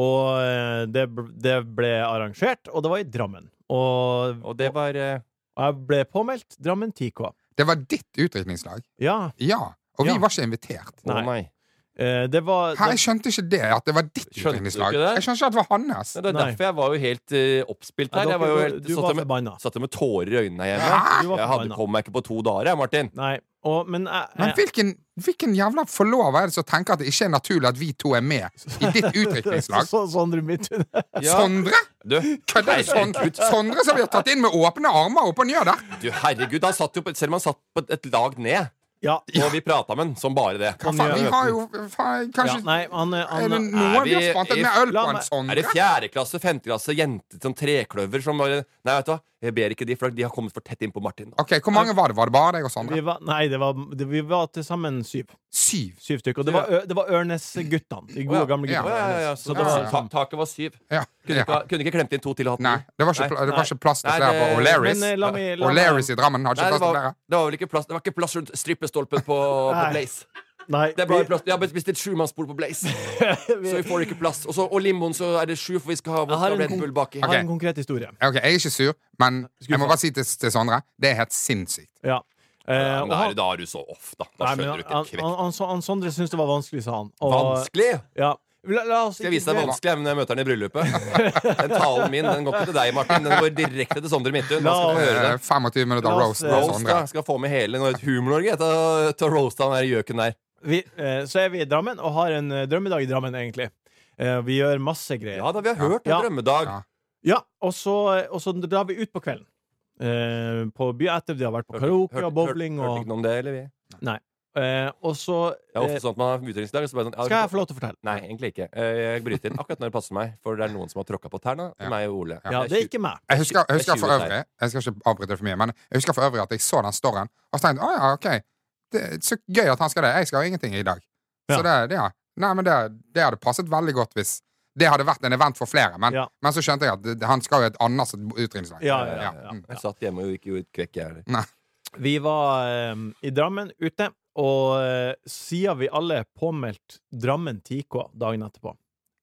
S1: Og eh, det, bl- det ble arrangert, og det var i Drammen. Og,
S2: Og det var eh,
S1: og jeg ble påmeldt Drammen 10K.
S3: Det var ditt utdrikningslag?
S1: Ja.
S3: Ja. Og vi
S1: Ja.
S3: var ikke invitert.
S2: Å
S1: Nei.
S2: nei.
S1: eh, det var
S3: Hæ, jeg skjønte ikke det, at det var
S2: Skjønte
S3: ditt
S2: du
S3: utdrikningslag.
S2: ikke det?
S3: Jeg skjønte ikke at det var hans.
S2: Det er
S1: Nei.
S2: derfor jeg var jo helt eh, oppspilt
S1: Ja,
S2: her.
S1: dere
S2: Jeg var jo
S1: var-
S2: helt,
S1: du
S2: satt
S1: var
S2: der med,
S1: forbanna.
S2: satt der med tårer i øynene her hjemme.
S3: Hæ?
S1: Du var
S2: Jeg hadde
S1: forbanna.
S2: kommet meg ikke på to dager, jeg, Martin.
S1: Nei. Og, men jeg,
S3: Men
S1: jeg,
S3: hvilken, hvilken jævla forlover er det som tenker at det ikke er naturlig at vi to er med i ditt
S1: så,
S3: utdrikningslag?
S1: så, Sondre Midthun
S2: Ja.
S1: Sånn.
S3: Sondre?
S2: Du,
S3: Kødder du? Sondre, Sondre som vi har tatt inn med åpne armer opp og ned der?
S2: du, herregud, han satt jo på, selv om han satt på et lag ned,
S1: Ja.
S2: og vi prata med han som bare det.
S3: Hva faen, vi har jo faen,
S1: ja.
S3: kanskje
S1: Nei, han,
S3: Er det
S1: han
S3: noen
S2: Er
S3: vi har
S2: vi-
S3: spant et
S2: er-
S3: mer øl på
S1: la
S3: enn
S1: meg-
S2: Er det
S3: Sondre?
S2: fjerde klasse, femte klasse, jenter som trekløver som bare Nei, vet du hva, jeg ber ikke de, for de har kommet for tett innpå Martin.
S3: Ok, Hvor mange var det? Var det bare deg og
S1: vi
S3: Sondre?
S1: var, Nei, det var, det, vi var til sammen syv.
S3: Syv.
S1: Syv stykker. Og det var, Ø- det var Ørnes-guttene. De
S2: Å
S1: gode,
S2: ja.
S1: gamle
S3: Ja,
S2: Ja,
S1: guttene.
S2: ja, ja, ja.
S1: Ørnes.
S2: Så
S1: Så
S2: det
S1: det
S2: var,
S3: Ja, ja.
S2: ta, taket var syv. Kunne
S3: Ja.
S2: ikke,
S3: ja.
S2: ha- kunne ikke klemt inn to til og hatt
S3: Nei, det var ikke, pla- det var ikke plass til
S2: Nei,
S3: flere
S2: det-
S3: på O'Learys.
S1: Men, eh, la meg- la meg-
S3: O'Learys i Drammen hadde
S2: Nei, det
S3: ikke plass til
S2: var,
S3: flere.
S2: det var vel ikke plass Det var ikke plass rundt strippestolpen på, på
S1: Nei.
S2: Blaze.
S1: Nei,
S2: Det er bare
S1: vi-
S2: plass Jeg har bestilt sjumannsbord på Blaze, så
S1: vi-
S2: vi får ikke plass. Og, så, og limoen, så er det sju, for vi skal ha
S1: Jeg har
S2: vodka
S1: en
S2: Red
S1: kon-
S2: Bull baki.
S1: Jeg har
S3: Ok.
S1: en konkret historie.
S3: Ok, Jeg er ikke sur, men jeg må
S1: Skuffa.
S3: bare si til, til Sondre det er helt sinnssykt.
S1: Ja. Eh,
S2: Ja,
S1: og
S2: men da er
S1: han,
S2: du- da er du så off, da. Da
S1: nei, men
S2: skjønner
S1: han,
S2: du ikke
S1: han,
S2: kvekk.
S1: han, han Sondre syntes det var vanskelig, sa han. Og-
S2: Vanskelig!
S1: Ja. La, la oss
S2: Skal jeg vise deg
S1: ikke-
S2: vanskelig når jeg møter han i bryllupet. Den talen min den går ikke til deg, Martin. Den går direkte til Sondre Midthun. Han skal få høre
S3: Eh,
S2: det.
S3: 25 minutter
S1: La oss,
S3: roast
S1: eh,
S3: av
S2: Roast, da.
S3: Sondre.
S2: Skal få med hele Nor- Humor-Norge til å- til å roaste han der gjøken der.
S1: vi, eh, Så er vi i Drammen, og har en eh, drømmedag i Drammen, egentlig. Eh, vi gjør masse greier.
S2: Ja da, vi har hørt
S1: Ja.
S2: en drømmedag.
S3: Ja.
S1: Ja, og så, eh, og så drar vi ut på kvelden. Eh, på by etter. Vi har vært på karaoke
S2: Hørte- hørte-
S1: og bowling
S2: hørte- Hørte
S1: og
S2: ikke noe om det, eller vi?
S1: Nei. Eh, og så
S2: Det er
S1: eh,
S2: ofte sånn at man har utdrikningsdag, og så bare sånn
S1: skal jeg få lov til å fortelle.
S2: Nei, egentlig ikke. Eh, Jeg bryter inn akkurat når det passer meg, for det er noen som har tråkka på tærne.
S3: Ja.
S2: Meg og Ole.
S1: Ja, det er ikke meg.
S3: Jeg husker, jeg husker
S2: Det er
S3: for
S2: 20
S3: øvrig Jeg skal ikke avbryte for mye Men jeg husker for øvrig at jeg så den storyen Og så tenkte jeg, «Å ja, ok det er Så gøy at han skal det Jeg skal ingenting i dag
S1: Ja.
S3: Så det, det, ja. Nei, men det, det hadde passet veldig godt hvis Det hadde vært en event for flere Men,
S1: Ja.
S3: men så skjønte jeg at det- han skal jo et annet utrinningslag
S1: Ja, ja, ja, ja.
S3: Mm.
S2: Jeg satt hjemme og ikke gjorde et kvekk, jeg heller.
S1: Vi var eh, i Drammen ute, og eh, siden vi alle er påmeldt Drammen 10K dagen etterpå,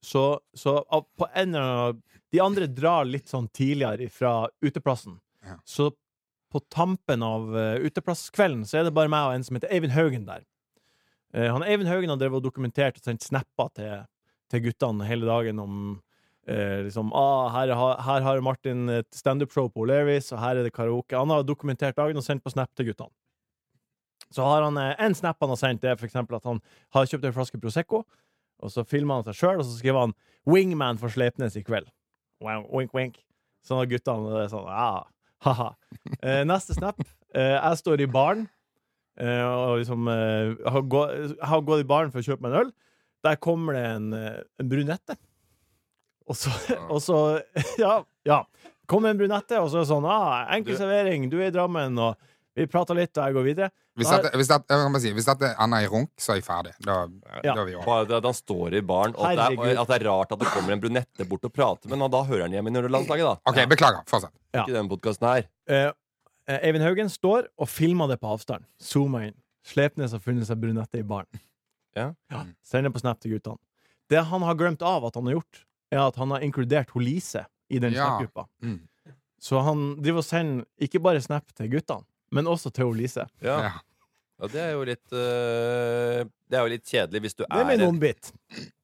S1: så, så av- på en eller annen De andre drar litt sånn tidligere fra uteplassen.
S3: Ja.
S1: Så på tampen av eh, uteplasskvelden så er det bare meg og en som heter Eivind Haugen der. Eh, han Eivind Haugen har drevet og dokumentert og sendt snapper til, til guttene hele dagen om Eh, liksom, ah, her, har- her har Martin et standup-show på O'Learys, og her er det karaoke. Han har dokumentert dagen og sendt på Snap til guttene. Så har han eh, en snap han har sendt, det er for eksempel at han har kjøpt en flaske Prosecco, og så filmer han seg sjøl, og så skriver han 'Wingman for Sleipnes i kveld'. Wow, wink, wink. Så når guttene er sånn ah, ha-ha. Eh, neste snap. Eh, jeg står i baren, eh, og liksom eh, har, gå, har gått i baren for å kjøpe meg en øl. Der kommer det en, eh, en brunette. Og så, og så Ja. ja. Kom en brunette, og så er det sånn ah, 'Enkel servering, du er i Drammen', og vi prater litt, og jeg går videre.
S3: hvis,
S1: Nei.
S3: dette, hvis, dette, jeg kan bare si, hvis dette ender i runk, så er jeg ferdig Da,
S1: Ja.
S3: da er vi over
S2: Bare det at han står i baren, og at det, er,
S1: Herregud.
S2: at det er rart at det kommer en brunette bort og prater, men da hører han hjemme i Nørrelandslaget, da.
S3: Ok, beklager, fortsett
S1: Ja.
S2: Ikke denne podkasten her.
S1: Eh, eh, Eivind Haugen står og filmer det på avstand. Zooma inn. Slepnes har funnet seg brunette i baren.
S2: Ja.
S1: Sender på Snap til guttene. Det han har glemt av at han har gjort, er at han har inkludert hun Lise i den
S3: Ja.
S1: Snap-gruppa.
S3: Mm.
S1: Så han driver og sender ikke bare Snap til guttene, men også til hun Lise.
S2: Ja.
S3: ja.
S2: Ja, det er jo litt øh, Det er jo litt kjedelig hvis du
S1: Det
S2: er
S1: blir
S2: en,
S1: noen bit.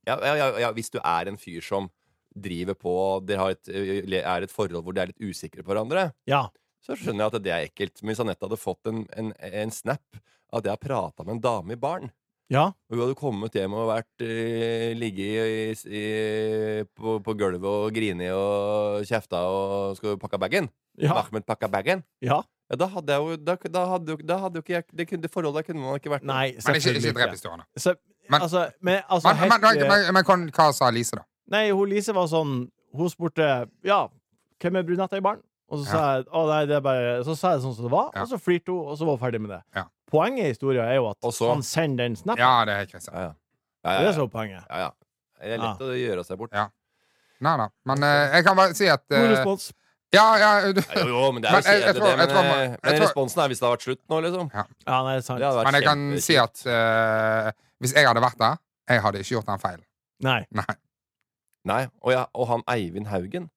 S2: ja, ja, ja, ja, Hvis du er en fyr som driver på Dere har et, øh, er et forhold hvor de er litt usikre på hverandre,
S1: Ja.
S2: så skjønner jeg at det er ekkelt. Men hvis Anette hadde fått en, en, en snap at jeg har prata med en dame i baren
S1: Ja.
S2: og Hun hadde kommet hjem og vært øh, ligget i, i, på, på gulvet og grinet og kjefta og skulle pakke bagen.
S1: Ja.
S2: Ahmed pakka bagen.
S1: ja.
S2: Ja, da hadde jeg jo Da, da, hadde, jo- da hadde jo ikke jeg Det, kunne- det forholdet kunne man ikke vært
S1: Nei,
S3: Men ikke,
S1: selvfølgelig
S3: ikke drep
S1: ikke.
S3: historiene
S1: Så,
S3: Men-
S1: altså, men, altså
S3: Men,
S1: helt,
S3: men, men,
S1: eh,
S3: men, men, hva- hva sa Lise da?
S1: Nei, hun Lise var sånn Hun spurte Ja, hvem er brunetta i baren? Og så sa jeg Å nei, det er bare Så sa jeg det sånn som det var
S3: Ja.
S1: Og så flirte hun Og så var hun ferdig med det
S3: Ja.
S1: Poenget i historien er jo at
S2: Og så-
S1: Han sender den snappen
S3: Ja, det er Kristian
S2: Ja, ja. Ja, ja,
S1: Det
S2: ja.
S1: er så poenget
S2: ja, ja. Det er lett å gjøre seg bort.
S3: Ja. Nei da, men eh, jeg kan bare si at
S1: God
S3: eh,
S1: respons
S3: Ja, ja du,
S2: Ja, jo, jo, men det er
S3: Men
S2: jo
S3: jeg- jeg
S2: kjedelig,
S3: tror-
S2: det.
S3: jeg tror
S2: Men,
S3: man-
S2: eh,
S3: jeg
S2: men
S3: tror-
S2: responsen er hvis det hadde vært slutt nå, liksom.
S1: Ja, nei, det er sant
S2: Det hadde vært
S3: Men jeg kan
S2: kjempe-
S3: si at eh, hvis jeg hadde vært der, jeg hadde ikke gjort den feilen.
S1: Nei
S3: Nei.
S2: Nei, og, ja, og han Eivind Haugen.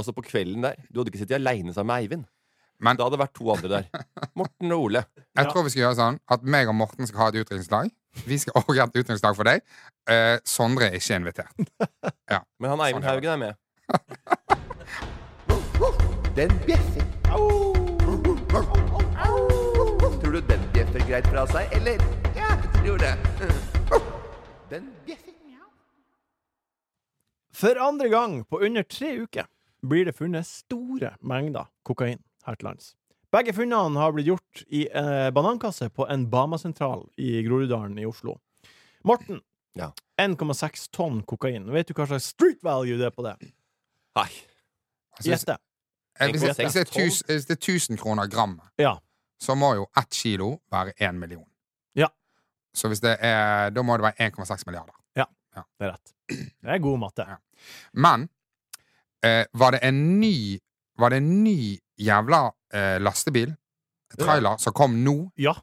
S2: Altså, på kvelden der Du hadde ikke sittet aleine sammen med Eivind.
S3: Men-
S2: Da hadde det vært to andre der. Morten og Ole.
S3: Jeg
S1: Ja.
S3: tror vi skal gjøre sånn at meg og Morten skal ha et utdrikningslag. Vi skal også ha et utdrikningslag for deg. Eh, Sondre er ikke invitert.
S2: Men han Eivind
S3: Sånn, ja.
S2: Haugen er med.
S6: Den bjeffer. Tror du den bjeffer greit fra seg, eller? Ja, jeg tror det. Den bjeffer.
S1: For andre gang på under tre uker blir det funnet store mengder kokain her til lands. Begge funnene har blitt gjort i eh, banankasse på en Bama-sentral i Groruddalen i Oslo. Morten,
S2: Ja.
S1: 1,6 tonn kokain. Vet du hva slags street value det er på det?
S2: Nei.
S3: Altså, hvis,
S1: Gjette.
S3: eh,
S2: tenk
S3: hvis,
S2: på
S3: hvis, det er
S2: seks
S3: tus- hvis det er 1000 kroner gram,
S1: Ja.
S3: så må jo ett kilo være én million.
S1: Ja.
S3: Så hvis det er, da må det være 1,6 milliarder.
S1: Det er rett. Det er god matte.
S3: Ja. Men eh, var det en ny Var det en ny jævla eh, lastebil, trailer, som kom nå
S1: Ja.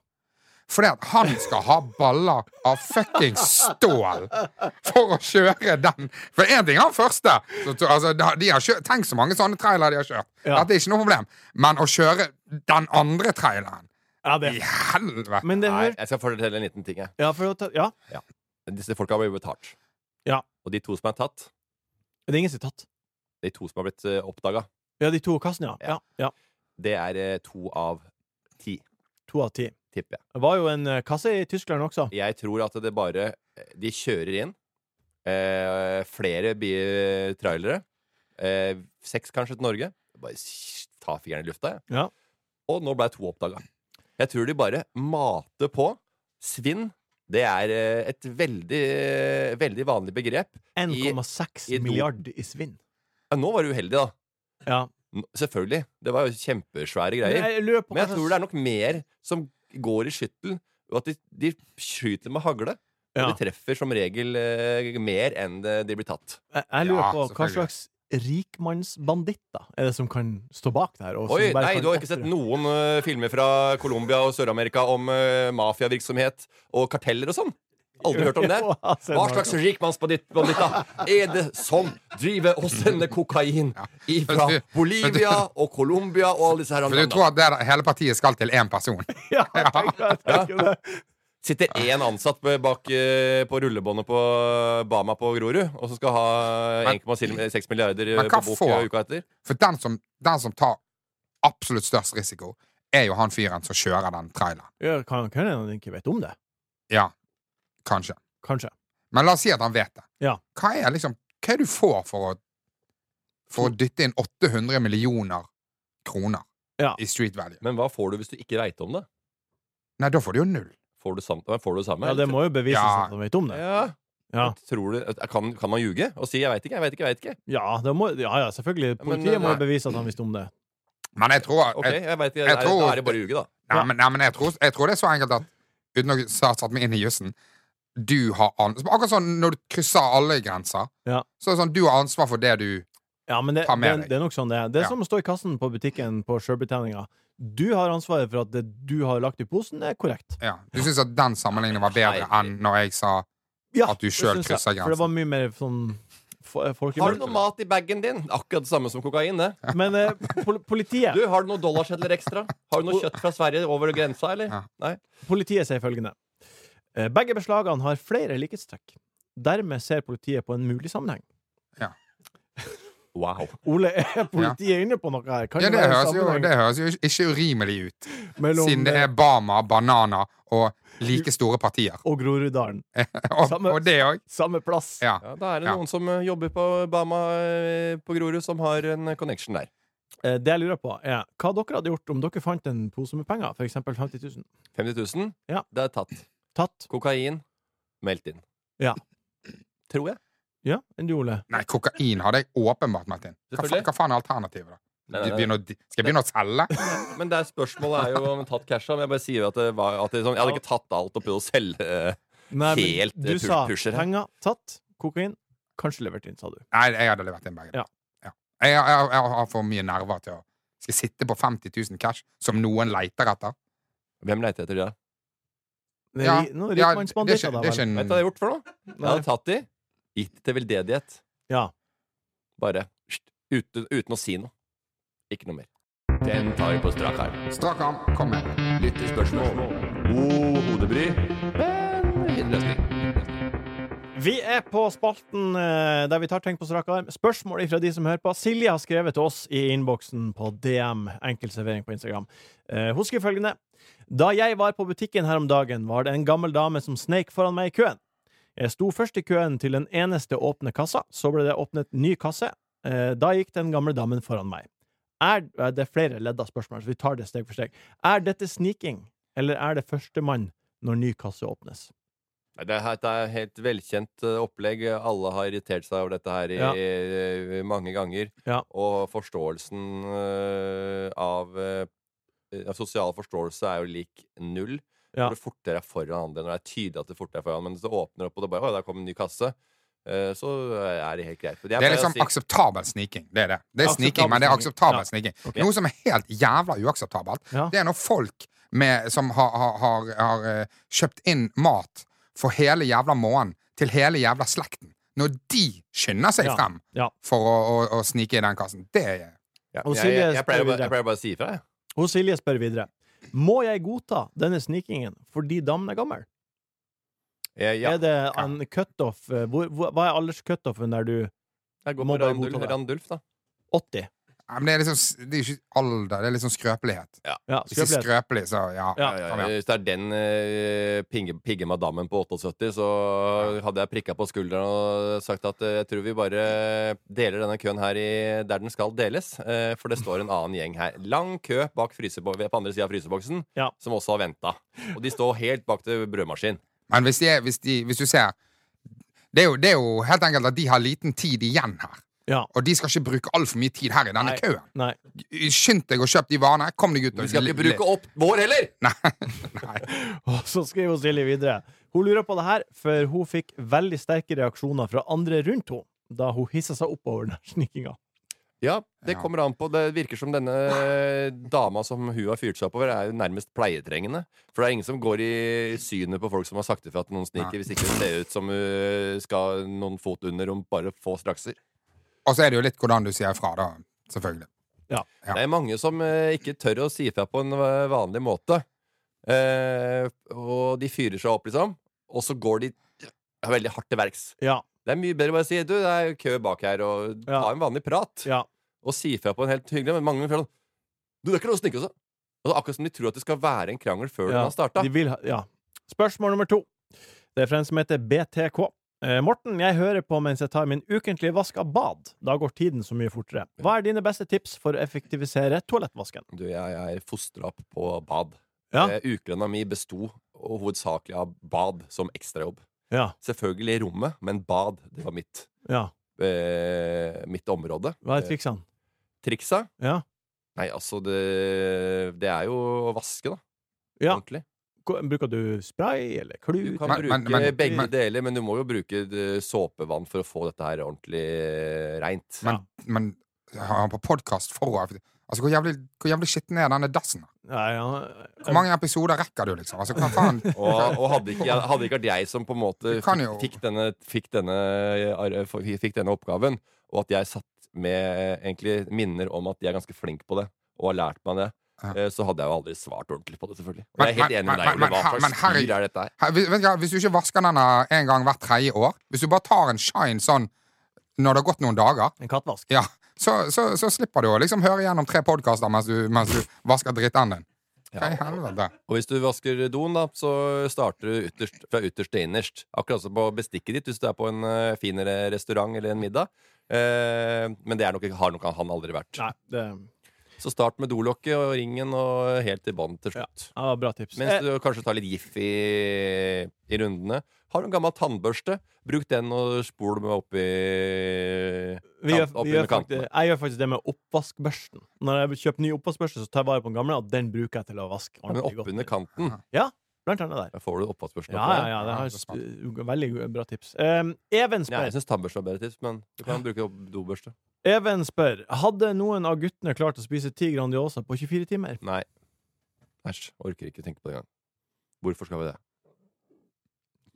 S3: Fordi at han skal ha baller av fucking stål for å kjøre den. For én ting er han første. Så, så, altså, da- de har kjørt, tenk så mange sånne trailere de har kjørt.
S1: Ja.
S3: Dette er ikke noe problem. Men å kjøre den andre traileren
S1: ja det.
S3: I helvete!
S1: Men det
S2: Nei,
S1: hører
S2: jeg skal fortelle en liten ting, jeg.
S1: ja, for å ta, ja.
S2: Disse folka blir betalt.
S1: Ja.
S2: Og de to som er tatt,
S1: Det er ingen som er tatt.
S2: de to som har blitt oppdaga,
S1: Ja, de to kassene, ja. ja. ja.
S2: det er eh, to av ti,
S1: To av ti.
S2: tipper jeg.
S1: Det var jo en eh, kasse i Tyskland også.
S2: Jeg tror at det bare De kjører inn eh, flere bi- trailere. Eh, seks kanskje til Norge. Bare s- ta fingeren i lufta, jeg.
S1: Ja.
S2: Og nå ble to oppdaga. Jeg tror de bare mater på Svinn det er eh, et veldig, eh, veldig vanlig begrep.
S1: 1,6
S2: i do.
S1: milliard i svinn.
S2: Ja, nå var du uheldig, da.
S1: Ja.
S2: N- Selvfølgelig. Det var jo kjempesvære
S1: Men
S2: greier.
S1: jeg lurer på
S2: Men jeg
S1: hva
S2: tror
S1: slags-
S2: det er nok mer som går i skyttel, og at de, de skyter med hagle. Og
S1: Ja.
S2: de treffer som regel eh, mer enn det- de blir tatt.
S1: Jeg, jeg lurer
S3: Ja,
S1: på hva
S3: selvfølgelig.
S1: slags rikmannsbanditter er det som kan stå bak det her? og som
S2: Oi,
S1: bare
S2: nei,
S1: kan
S2: du har ikke sett
S1: ofre-
S2: noen eh, filmer fra Colombia og Sør-Amerika om eh, mafiavirksomhet og karteller og sånn? Aldri hørt om det?
S1: Jo, jeg har sett
S2: Hva
S1: noe.
S2: slags rikmannsbanditta er det som driver og sender kokain fra
S3: Vet du-
S2: Bolivia og Colombia og alle disse her
S3: For du
S2: andre
S3: tror
S2: landene?
S3: at det, er- hele partiet skal til én person.
S1: Ja, jeg tenker, jeg tenker det.
S2: Sitter én ansatt bak eh, på rullebåndet på Bama på Grorud, og så skal ha 1,6 milliarder eh,
S3: Men
S2: på
S3: hva
S2: bok
S3: får-
S2: eh, uka etter?
S3: For den som, den som tar absolutt størst risiko, er jo han fyren som kjører den traileren.
S1: Ja, kan kan hende han ikke vet om det.
S3: Ja, kanskje.
S1: Kanskje.
S3: Men la oss si at han vet det.
S1: Ja.
S3: Hva er liksom Hva er det du får for å For å dytte inn 800 millioner kroner
S1: Ja.
S3: i street value?
S2: Men hva får du hvis du ikke veit om det?
S3: Nei, da får du jo null.
S2: Får du, sam får du det samme?
S1: Ja, det må jo bevises
S3: Ja.
S1: at han vet om det.
S2: ja.
S1: Ja,
S2: Tror du, eh, kan, kan man ljuge og si 'jeg veit ikke', jeg vet ikke, jeg vet ikke?
S1: ja, det må, ja, ja selvfølgelig.
S2: Ja, men,
S1: Politiet må
S2: nei.
S1: jo bevise at han visste om det.
S3: Men jeg tror
S2: Ok,
S3: jeg,
S2: jeg vet ikke,
S3: jeg
S2: er-
S3: tror-
S2: Da er det bare å ljuge, da.
S3: nei, men, nei, men jeg tror, jeg tror det er så enkelt at Uten å ha satt meg inn i jussen Du har ansvar Akkurat sånn når du krysser alle grenser,
S1: Ja.
S3: så er det sånn du har ansvar for det du
S1: Ja, men det,
S3: Ta
S1: det,
S3: med deg.
S1: det er nok sånn det er. Det
S3: Ja.
S1: som står i kassen på butikken på sjølbetjeninga, du har ansvaret for at det du har lagt i posen, er korrekt.
S3: ja. Du syns at den sammenligningen var bedre enn når jeg sa
S1: Ja,
S3: At du
S1: det
S3: selv
S1: syns jeg, For
S3: krysser
S1: det
S3: grensen.
S1: var mye mer sånn fo- folkelig.
S2: Har du noe mat i bagen din? Akkurat det samme som kokain, det.
S1: Men eh, pol politiet
S2: Du, Har du noen dollarsedler ekstra? Har du noe kjøtt fra Sverige over grensa, eller?
S3: Ja.
S2: Nei?
S1: Politiet sier følgende Eh, Begge beslagene har flere likhetstrekk Dermed ser politiet på en mulig sammenheng
S2: Wow.
S1: Ole, er politiet inne på noe her? Kan
S3: Ja, det
S1: være en
S3: høres jo,
S1: sammenheng
S3: det høres jo ikke- ikke urimelig ut,
S1: mellom,
S3: siden det
S1: eh,
S3: er Bama, bananer og like store partier.
S1: Og Groruddalen
S3: Og,
S1: Samme-
S3: og det òg.
S1: Samme plass
S3: Ja.
S2: Ja, da er det
S3: Ja.
S2: noen som eh, jobber på Bama eh, på Grorud, som har en connection der.
S1: Eh, Det jeg lurer på er Hva dere hadde gjort om dere fant en pose med penger For eksempel 50 000
S2: 50 000?
S1: Ja.
S2: Det er tatt.
S1: Tatt
S2: Kokain? Meldt inn.
S1: Ja.
S2: Tror jeg.
S1: Ja, enn du Ole
S3: Nei, kokain hadde jeg åpenbart meldt inn. Hva, fa-
S2: Selvfølgelig.
S3: hva faen er alternativet, da?
S2: Nei, nei,
S3: Du
S2: nei.
S3: begynner å di- Skal jeg begynne å selge?
S2: Men det er spørsmålet er jo om jeg har tatt casha. Men jeg bare sier jo at, det var, at det, er sånn, jeg hadde ikke tatt alt og prøvd å selge. eh,
S1: Nei, men
S2: Helt, eh,
S1: Du sa
S2: pusher her.
S1: penger Tatt Kokain Kanskje levert inn, sa du
S3: Nei, jeg hadde levert inn begge.
S1: Ja.
S3: Ja. Jeg, jeg, jeg har for mye nerver til å Skal jeg sitte på 50 000 cash som noen leter etter?
S2: Hvem leter etter det?
S1: Det er
S3: Ja,
S1: ri- Noen
S3: ja, det er
S1: rikmannsbanditter
S3: ikke,
S1: da,
S3: det er
S1: vel?
S3: ikke
S2: Vet du hva jeg
S3: en
S2: har gjort for noe? Jeg
S1: Nei.
S2: hadde tatt de, gitt de til veldedighet.
S1: Ja
S2: Bare sht, uten, uten å si noe. Ikke noe mer. Den tar vi på strak arm.
S3: Strak arm, kom med.
S2: Lyttespørsmål. God hodebry, men fin løsning.
S1: Vi er på spalten eh, der vi tar ting på strak arm. Spørsmål fra de som hører på. Silje har skrevet til oss i innboksen på DM, enkel servering på Instagram. Eh, Hun skriver følgende. Da jeg var på butikken her om dagen, var det en gammel dame som sneik foran meg i køen. Jeg sto først i køen til den eneste åpne kassa, så ble det åpnet ny kasse. Eh, Da gikk den gamle damen foran meg. Er, eh, det er flere ledd av spørsmålet, så vi tar det steg for steg. Er dette sniking, eller er det førstemann når ny kasse åpnes?
S2: Nei, Det her- det er et helt velkjent eh, opplegg. Alle har irritert seg over dette her i,
S1: Ja.
S2: eh, mange ganger.
S1: Ja.
S2: Og forståelsen eh, av eh, eh, Sosial forståelse er jo lik null.
S1: Ja.
S2: Når du fortere er foran andre, når det er tydelig at du fortere er foran, men hvis det åpner opp, og det bare Å, der kom en ny kasse. eh, Så er det helt greit. Men jeg
S3: Det er
S2: pleier å
S3: liksom
S2: si-
S3: akseptabel sniking. Det er det. Det er
S1: Akseptabel
S3: sniking, men det er
S1: sniking.
S3: akseptabel
S1: Ja.
S3: sniking.
S1: Ok.
S3: Noe som er helt jævla uakseptabelt,
S1: Ja.
S3: det er når folk med, som har, har, har, har eh, kjøpt inn mat for hele jævla måneden til hele jævla slekten, når de skynder seg
S1: Ja.
S3: frem
S1: Ja.
S3: for å, å, å snike i den kassen, det er
S2: Ja,
S1: Og
S2: jeg,
S1: Silje
S2: jeg, jeg, pleier
S1: spør
S2: å bare,
S1: videre.
S2: jeg pleier bare å si ifra, jeg.
S1: Og Silje spør videre. Må jeg godta denne snikingen fordi damen er gammel?
S2: jeg ja,
S1: Er det en cutoff eh, hvor, hvor, Hva er alderscutoffen der du
S2: jeg går
S1: må
S2: på
S1: bare
S2: Randulf,
S1: godta det.
S2: Randulf, da.
S1: 80?
S3: Nei, men det er liksom s- Det er ikke alder, det er liksom skrøpelighet.
S1: Ja,
S3: Hvis det er
S1: skrøpelighet.
S3: skrøpelig, så ja.
S1: Ja,
S2: Ja,
S3: kom
S2: ja,
S3: igjen.
S2: Hvis det er den eh, pinge, pigge madammen på 78, så hadde jeg prikka på skulderen og sagt at eh, jeg tror vi bare deler denne køen her i, der den skal deles. eh, for det står en annen gjeng her. Lang kø bak frysebo på andre sida av fryseboksen,
S1: Ja.
S2: som også har venta. Og de står helt bak til brødmaskin.
S3: Men hvis, de, er- hvis, de, hvis du ser det er, jo, det er jo helt enkelt at de har liten tid igjen her.
S1: Ja.
S3: Og de skal ikke bruke altfor mye tid her i denne
S1: Nei.
S3: køen.
S1: Nei.
S3: Skynd deg å kjøpe de varene. Kom deg ut.
S2: Vi skal ikke bruke opp vår heller!
S1: Og så skriver hun Silje videre. Hun lurer på det her, for hun fikk veldig sterke reaksjoner fra andre rundt henne da hun hissa seg opp over den her snikkinga.
S2: Ja, det kommer an på. Det virker som denne dama som hun har fyrt seg oppover, er jo nærmest pleietrengende. For det er ingen som går i synet på folk som har sagt ifra at noen sniker,
S3: Nei.
S2: hvis ikke det ser ut som hun skal noen fot under om bare få strakser.
S3: Og så er det jo litt hvordan du sier ifra, da. Selvfølgelig. Ja.
S2: Det er mange som eh, ikke tør å si ifra på en eh, vanlig måte. Eh, og de fyrer seg opp, liksom. Og så går de ja, veldig hardt til verks.
S1: Ja,
S2: Det er mye bedre å bare si du, det er jo kø bak her, og
S1: Ja.
S2: ta en vanlig prat.
S1: ja,
S2: og si fra på en helt hyggelig Men mange føler sånn Du, det er ikke noe å snikke seg altså, Akkurat som de tror at det skal være en krangel før den
S1: ja.
S2: har starta.
S1: De vil ha, ja. Spørsmål nummer to. Det er fra en som heter BTK. Eh, Morten, jeg hører på mens jeg tar min ukentlige vask av bad. Da går tiden så mye fortere. Hva er dine beste tips for å effektivisere toalettvasken?
S2: Du, jeg er fostra opp på bad.
S1: Ja.
S2: Eh, Ukelønna mi besto og hovedsakelig av bad som ekstrajobb.
S1: Ja,
S2: Selvfølgelig rommet, men bad, det var mitt.
S1: ja.
S2: Eh, mitt område.
S1: Hva er triksene?
S2: Triksa?
S1: Ja.
S2: Nei, altså, det, det er jo å vaske, da.
S1: Ja.
S2: Ordentlig.
S1: Ko- Bruker du spray eller
S2: Du
S1: klut?
S2: kan
S3: Men-
S2: bruke
S3: men- men-
S2: begge
S3: men-
S2: deler, men du må jo bruke eh, såpevann for å få dette her ordentlig eh, reint.
S3: Men, men har han på podkast for å Altså, hvor jævlig, hvor jævlig skitten er denne dassen? da?
S1: Nei, ja.
S3: Hvor mange episoder rekker du, liksom? Altså, hva faen?
S2: Og, og hadde, ikke, jeg- hadde ikke vært jeg som på en måte
S3: Du kan
S2: fikk,
S3: jo.
S2: fikk, denne, fikk, denne, ar- fikk denne oppgaven, og at jeg satt med eh, egentlig minner om at jeg er ganske flink på det, og har lært meg det,
S3: Ja.
S2: eh, så hadde jeg jo aldri svart ordentlig på det, selvfølgelig. Og
S3: Men-
S2: jeg er helt
S3: men-
S2: enig med deg,
S3: men-
S2: Ole. Hva
S3: men- men
S2: slags
S3: herregud.
S2: styr er dette her?
S3: Her, vet du hva, Hvis du ikke vasker denne en gang hvert tredje år, hvis du bare tar en shine sånn når det har gått noen dager,
S1: En kattvask.
S3: ja, så, så, så slipper du å liksom høre gjennom tre podkaster mens, du- mens du vasker dritten din. Hva i helvete?
S2: Og hvis du vasker doen, da, så starter du ytterst, fra ytterst til innerst. Akkurat som på bestikket ditt, hvis du er på en eh, finere restaurant eller en middag. Eh, men det er nok, har nok han aldri vært.
S1: Nei, det,
S2: Så start med dolokket og ringen og helt til bånn til
S1: ja.
S2: slutt.
S1: det var bra tips. Eh,
S2: Mens du kanskje tar litt giff i, i rundene. Har du en gammel tannbørste, bruk den og spol med oppi
S1: Vi gjør,
S2: kant- oppi
S1: vi gjør
S2: under kantene.
S1: faktisk, jeg gjør faktisk det med oppvaskbørsten. Når jeg kjøper ny oppvaskbørste, så tar jeg vare på den gamle, og den bruker jeg til å vaske
S2: Men
S1: ordentlig godt.
S2: oppunder kanten.
S1: Blant annet der.
S2: Da får du oppvaskbørsten
S1: Ja,
S2: opp
S1: ja,
S2: der.
S1: ja, det
S3: Ja,
S1: har
S3: det er smart.
S1: uh, veldig gode- bra tips. Um, Even
S2: Nei, jeg
S1: spør,
S2: syns tannbørste er bedre tips, men du kan bruke opp dobørste.
S1: Even spør Hadde noen av guttene klart å spise ti Grandiosa på 24 timer?
S2: Nei. Æsj. Orker ikke tenke på det engang. Hvorfor skal vi det?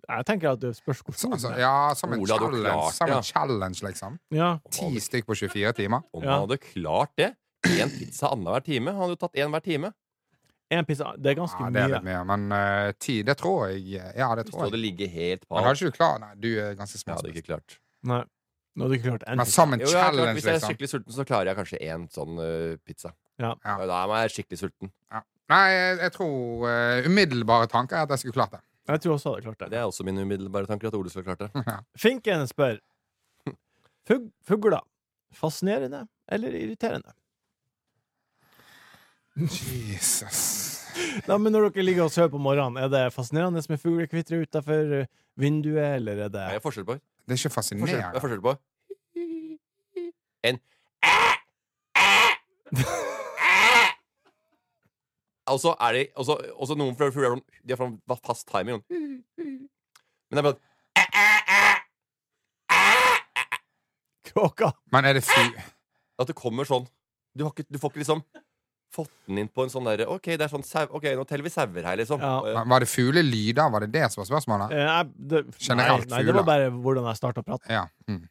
S1: Jeg tenker at det spørs
S3: Så,
S1: hvordan.
S3: altså, ja, som en
S2: Ole, hadde jo klart
S3: challenge, som
S2: det, ja.
S3: en challenge liksom.
S1: Ja,
S3: Ti stykk på 24 timer.
S2: Om
S1: Ja.
S2: man hadde klart det, én pizza annenhver time Han hadde jo tatt én hver time.
S1: en pizza Det er ganske
S3: Ja, det er
S1: mye.
S3: litt mye, men eh, ti, det tror jeg Ja, det
S2: Så
S3: tror
S2: det
S3: jeg.
S2: ligger helt på.
S3: Men har ikke du klart Nei, du er ganske
S2: Jeg hadde
S3: smart.
S2: ikke klart.
S1: Nei. Nå hadde du ikke klart en
S3: Men
S1: pizza.
S3: som en
S2: Jo, ja, klart,
S3: challenge,
S2: hvis jeg er
S3: liksom.
S2: skikkelig sulten, så klarer jeg kanskje én sånn eh, pizza.
S1: Ja.
S3: Ja.
S2: Da er jeg skikkelig sulten.
S3: Nei, jeg, jeg tror eh, umiddelbare tanker er at jeg skulle klart det.
S1: Jeg tror også jeg hadde klart
S2: Det
S1: det.
S2: er også mine umiddelbare tanker at Ole skulle klart det.
S1: Finken spør Fug Fugler. Fascinerende eller irriterende?
S3: Jesus.
S1: Nei, men når dere ligger og sover på morgenen, er det fascinerende med fuglekvitteret utafor eh, vinduet, eller er det
S2: Det er forskjell på.
S3: Det er ikke
S2: Forskjell, det
S3: fascinerende.
S2: er forskjell på. En Og så er de Og så- og så noen fugler er sånn De har sånn fast timing. sånn. Men det er bare
S1: kråka?
S3: Men er det fy...
S2: at det kommer sånn Du, har ikke, du får ikke liksom fått den inn på en sånn derre OK, det er sånn sau... OK, nå teller vi sauer her, liksom.
S1: Ja.
S2: Eh,
S3: Var det fuglelyder? Var det det som var spørsmålet?
S1: Eh, jeg- det,
S3: Generelt
S1: nei, nei, det var
S3: fugler.
S1: bare hvordan jeg starta å prate.
S3: Ja. Mm.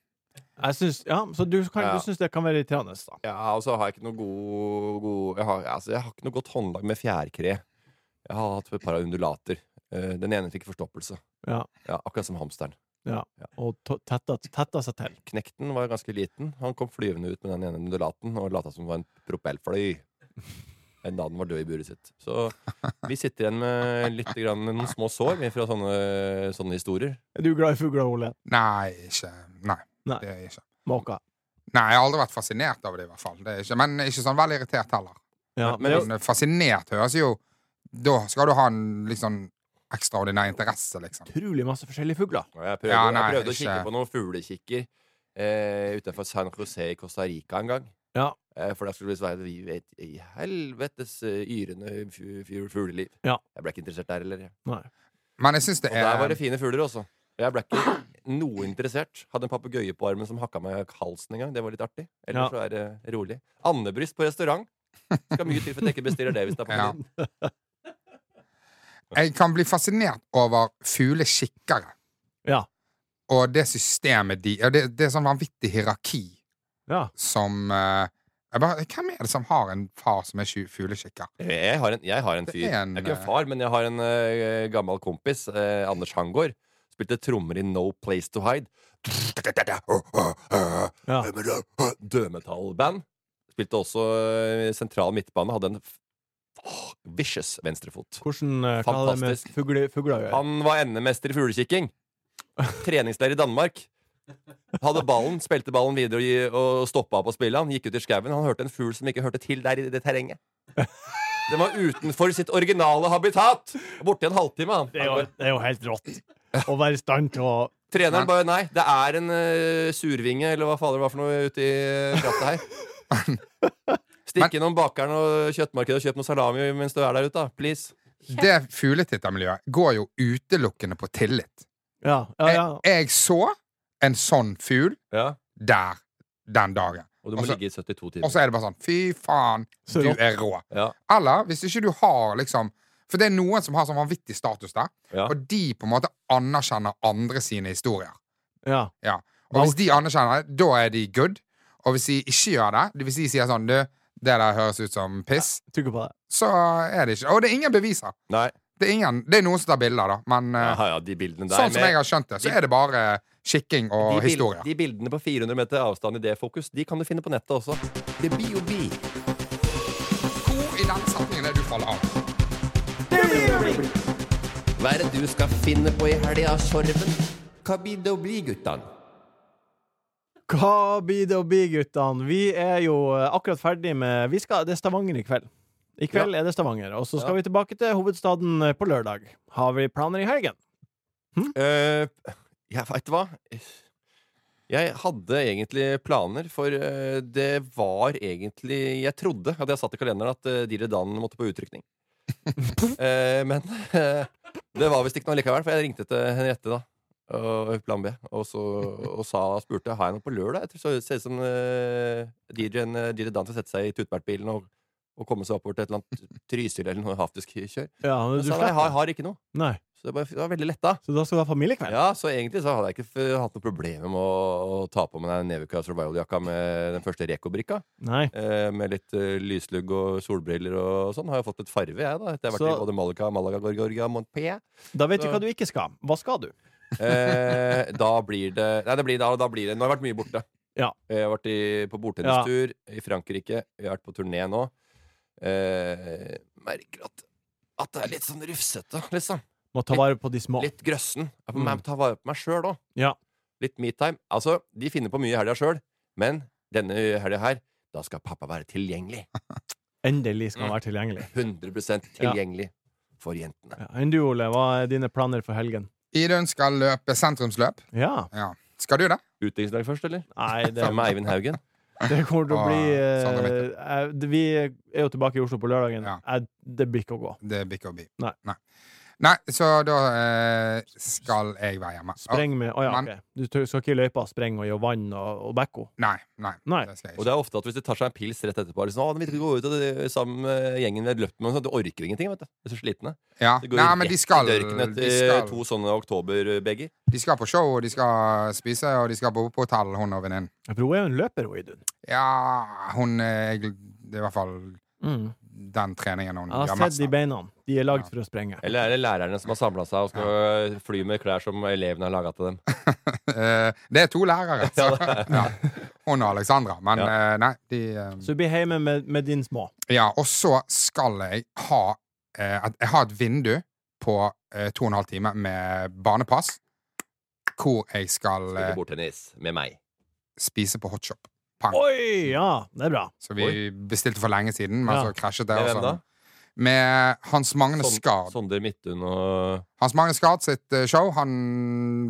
S1: Jeg synes, ja, så du, kan,
S2: Ja.
S1: du syns det kan være irriterende, da?
S2: Ja, og så har jeg ikke noe god, god jeg, har, altså, jeg har ikke noe godt håndlag med fjærkre. Jeg har hatt et par av undulater. Eh, Den ene fikk forstoppelse.
S1: Ja.
S2: akkurat som hamsteren.
S1: Ja. Og to- tetta, tetta seg til.
S2: Knekten var ganske liten. Han kom flyvende ut med den ene undulaten og lata som det var en propellfly. Den dagen var død i buret sitt. Så vi sitter igjen med litt grann noen små sår vi, fra sånne, sånne historier.
S1: Er du glad i fugler, Ole?
S3: Nei, ikke Nei.
S1: Nei.
S3: Det er jeg ikke.
S1: Måker.
S3: Nei, jeg har aldri vært fascinert over det, i hvert fall. Det er ikke, men ikke sånn veldig irritert heller.
S1: Ja,
S2: Men-
S1: det-
S3: Men eh, fascinert høres jo Da skal du ha en liksom ekstraordinær interesse, liksom.
S1: utrolig masse forskjellige fugler.
S2: Og Jeg prøvde,
S3: Ja, nei,
S2: jeg prøvde å kikke
S3: ikke-
S2: på noen fuglekikker eh, utenfor San José i Costa Rica en gang.
S1: Ja.
S2: Eh, for da skulle det være vi vet, i helvetes eh, yrende fu- fu- fugleliv.
S1: Ja. Eh.
S2: Jeg ble ikke interessert der heller. jeg.
S1: Nei.
S3: Men jeg syns det
S2: Og der var
S3: er
S2: det fine fugler også. Jeg ble ikke noe interessert. Hadde en papegøye på armen som hakka meg i halsen en gang. Det var litt artig.
S1: Ja.
S2: Ellers så er det rolig. Andebryst på restaurant. Skal mye til for at jeg ikke bestiller det. hvis det er på
S3: Ja.
S2: menyen.
S3: Jeg kan bli fascinert over fuglekikkere
S1: Ja.
S3: og det systemet de og det, det er sånn vanvittig hierarki
S1: Ja.
S3: som eh, jeg bare, Hvem er det som har en far som er sju- fuglekikker?
S2: Jeg har en, jeg har en
S3: Det
S2: fyr.
S3: er
S2: Jeg
S3: en,
S2: er ikke
S3: eh,
S2: en far, men jeg har en eh, gammel kompis. eh, Anders Hangård. Spilte trommer i No Place To Hide.
S1: Ja.
S2: Dødmetallband. Spilte også eh, sentral midtbane. Hadde en f- vicious venstrefot.
S1: Hvordan, eh, hva har det med
S2: Fantastisk.
S1: fugle, fugler å gjøre?
S2: Han var endemester i fuglekikking. Treningslærer i Danmark. Hadde ballen, spilte ballen videre og, gi- og stoppa opp å spille. Han gikk ut i skauen. Han hørte en fugl som ikke hørte til der i det terrenget. Den var utenfor sitt originale habitat! Borte i en halvtime.
S1: Det er, jo,
S2: Han.
S1: det er jo helt rått å være i stand til å
S2: Treneren bare nei, det er en eh, survinge eller hva fader det var for noe ute i krattet her. Stikk innom bakeren og kjøttmarkedet og kjøp noe salami mens du er der ute, da. Please.
S3: Det fugletittermiljøet går jo utelukkende på tillit.
S1: Ja, ja, ja.
S3: Jeg, jeg så en sånn fugl der den dagen.
S2: Og du må
S3: Altså-
S2: ligge i 72
S3: Og
S2: timer.
S3: så er det bare sånn Fy faen,
S1: Så
S3: du
S1: rått.
S3: er rå.
S2: Ja.
S3: Eller hvis ikke du har liksom For det er noen som har sånn vanvittig status der,
S2: Ja.
S3: og de på en måte anerkjenner andre sine historier.
S1: ja.
S3: Ja. Og hvis de anerkjenner det, da er de good. Og hvis de ikke gjør det, det- hvis de sier sånn Du, det der høres ut som piss,
S1: Trykker på det.
S3: så er det ikke Og det er ingen beviser.
S2: Nei.
S3: Det er, ingen, det er noen som tar bilder, da, men eh,
S2: Ja, ja, de bildene der
S3: sånn som
S2: med-
S3: jeg har skjønt det, så er det bare skikking og
S2: de, bil-
S3: historier.
S2: de bildene på 400 meter avstand i det fokus, de kan du finne på nettet også. Det blir jo bi.
S3: Hvor i den setningen er det du faller av?
S2: Hva er det du skal finne på i helga, Sorven? Hva blir det å bli, guttan?
S1: Hva blir det å bli, guttene? Vi er jo eh, akkurat ferdig med vi skal, Det er Stavanger i kveld. I kveld er det Stavanger. Og så skal
S2: Ja.
S1: vi tilbake til hovedstaden eh, på lørdag. Har vi planer i helgen?
S2: Eh, jeg veit hva. Jeg hadde egentlig planer, for eh, det var egentlig Jeg trodde at jeg satt i kalenderen at uh, Dire Dan måtte på utrykning. Eh, men eh, det var visst ikke noe likevel, for jeg ringte til Henriette da. Og plan B. Og, så, og sa, spurte har jeg noe på lørdag. Jeg tror så ser det ut som uh, DJ-en eh, Dire Dan skal sette seg i tutbertbilen og, og komme seg oppover til et eller annet Trysil eller noe haftisk kjør.
S1: Ja, men
S2: Men
S1: du
S2: sa nei, jeg
S1: slipper.
S2: har, har ikke noe.
S1: Nei.
S2: Så det var, det var veldig letta.
S1: Så da skal du ha familiekveld?
S2: Ja, så egentlig så hadde jeg ikke f- hatt noe problem med å, å ta på meg den Nevica Survival-jakka med den første Reko-brikka.
S1: Nei.
S2: Eh, med litt eh, lyslugg og solbriller og sånn. Har jo fått litt farve, jeg, da. Etter jeg har vært
S1: Så-
S2: i både Malaga, Malaga, Gorgorgia, Montpellier.
S1: Da vet vi
S2: Så-
S1: hva du ikke skal. Hva skal du?
S2: Eh, da blir det Nei, det blir, da, da blir det Nå har jeg vært mye borte.
S1: Ja.
S2: Eh, Jeg har vært i, på bordtennistur i Frankrike. Jeg har vært på turné nå. Eh, merker at, at det er litt sånn rufsete, liksom.
S1: Må ta vare på de små.
S2: Litt grøssen. Jeg må
S1: Mm.
S2: ta vare på meg sjøl òg.
S1: Ja.
S2: Litt metime. Altså, de finner på mye i helga sjøl, men denne helga her, da skal pappa være tilgjengelig.
S1: Endelig skal han være tilgjengelig.
S2: 100 tilgjengelig for jentene.
S1: Ja. Enn du, Ole? Hva er dine planer for helgen?
S3: Idun skal løpe sentrumsløp.
S1: Ja.
S3: Ja. Skal du det?
S2: Utdrikningsdag først, eller?
S1: Nei, det,
S2: Sammen med Eivind Haugen.
S1: det kommer til å
S3: Ah,
S1: bli eh,
S3: Sandra
S1: eh, det- Vi er jo tilbake i Oslo på lørdagen.
S3: Ja.
S1: Eh, det blir ikke å gå.
S3: Det bikker og bi.
S1: Nei.
S3: Nei. Nei, så da eh, skal jeg være hjemme.
S1: Spreng med Å ja,
S3: Men-
S1: ok. Du tør- skal ikke i løypa sprenge og gjøre vann og, og bekko?
S3: Å, Nei, nei,
S1: Nei.
S3: det skal jeg
S2: Og
S3: ikke.
S2: det er ofte at hvis de tar seg en pils rett etterpå er det sånn, å, vi skal gå ut og eh, sammen med gjengen ved løpet, men så- du orker ingenting, vet du. De er så slitne.
S3: Ja.
S2: De går
S3: Nei, men
S2: rett
S3: de
S2: i
S3: skal,
S2: dørken etter
S3: de, skal,
S2: to sånne oktoberbeger.
S3: de skal på show, og de skal spise, og de skal bo på hotell, hun og venninnen.
S1: For hun er jo en løper, hun, Idun.
S3: Ja, hun eh, jeg, Det er i hvert fall den treningen hun
S1: Mm. Jeg
S3: gjør
S1: har sett
S3: mest
S1: de
S3: av.
S1: beina. De er lagd for å sprenge.
S2: Eller er det lærerne som har samla seg og skal fly med klær som elevene har laga til dem?
S3: Eh, Det er to lærere, så ja. Hun og Alexandra. Men eh, nei, de eh,
S1: Så du blir hjemme med, med din små.
S3: Ja, og så skal jeg ha eh, at Jeg har et vindu på eh, to og en halv time med barnepass, hvor jeg skal eh,
S2: Spille bordtennis med meg.
S3: spise på hotshop. Pang.
S1: Oi! Ja, det er bra.
S3: Så vi bestilte for lenge siden, men
S1: Ja.
S3: så krasjet det.
S2: Med hvem
S3: og
S2: da? Sånn-
S3: sånn. Med Hans Magne
S2: Son-
S3: Skard.
S2: Sondre Midtun og
S3: Hans Magne Skard sitt eh, show. Han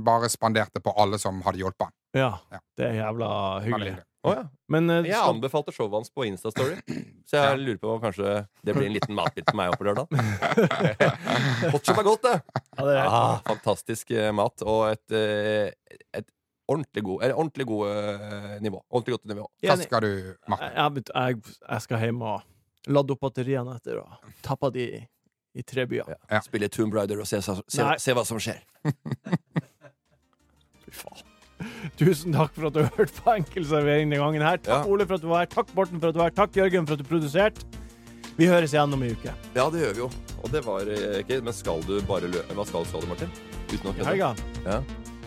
S3: bare spanderte på alle som hadde hjulpet han.
S1: Ja.
S3: Ja.
S1: Det er jævla
S3: Han er
S1: hyggelig.
S3: hyggelig.
S2: Å ja.
S1: Men eh,
S2: Jeg
S1: skal,
S2: anbefalte showet hans på Instastory, så jeg lurer på om kanskje det blir en liten matbit for meg oppe på lørdag. Hotchop er godt, det!
S1: ja, det er,
S2: Ah, fantastisk eh, mat og et, eh, et ordentlig god, eller ordentlig god eh, nivå. Ordentlig godt nivå.
S3: Hva
S1: Enig.
S3: skal du, Martin?
S1: jeg, jeg, jeg, jeg skal hjem og lade opp batteriene etter og tappe de i, i tre byer.
S3: Ja.
S2: Spille Tomb Raider og se, se, se,
S1: Nei.
S2: se hva som skjer.
S1: Fy faen. Tusen takk for at du har hørt på Enkelservering denne gangen. her Takk
S2: Ja.
S1: Ole for at du var her, takk Borten for at du var her, takk Jørgen for at du produserte. Vi høres igjen om en uke.
S2: Ja, det gjør vi jo. Og det var eh, ikke Men skal du bare lø... Hva skal, skal du, Martin? Uten
S1: I
S2: å kødde?
S1: helga.
S2: Ja.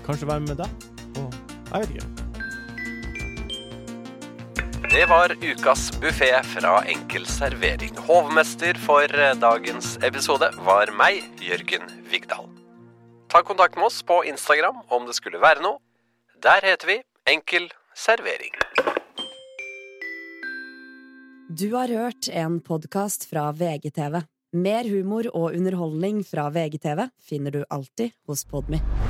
S1: Kanskje være med deg? Og, jeg vet ikke.
S7: Det var ukas buffé fra Enkel servering. Hovmester for eh, dagens episode var meg, Jørgen Vigdal. Ta kontakt med oss på Instagram om det skulle være noe. Der heter vi Enkel servering.
S8: Du har hørt en podkast fra VGTV. Mer humor og underholdning fra VGTV finner du alltid hos Podmy.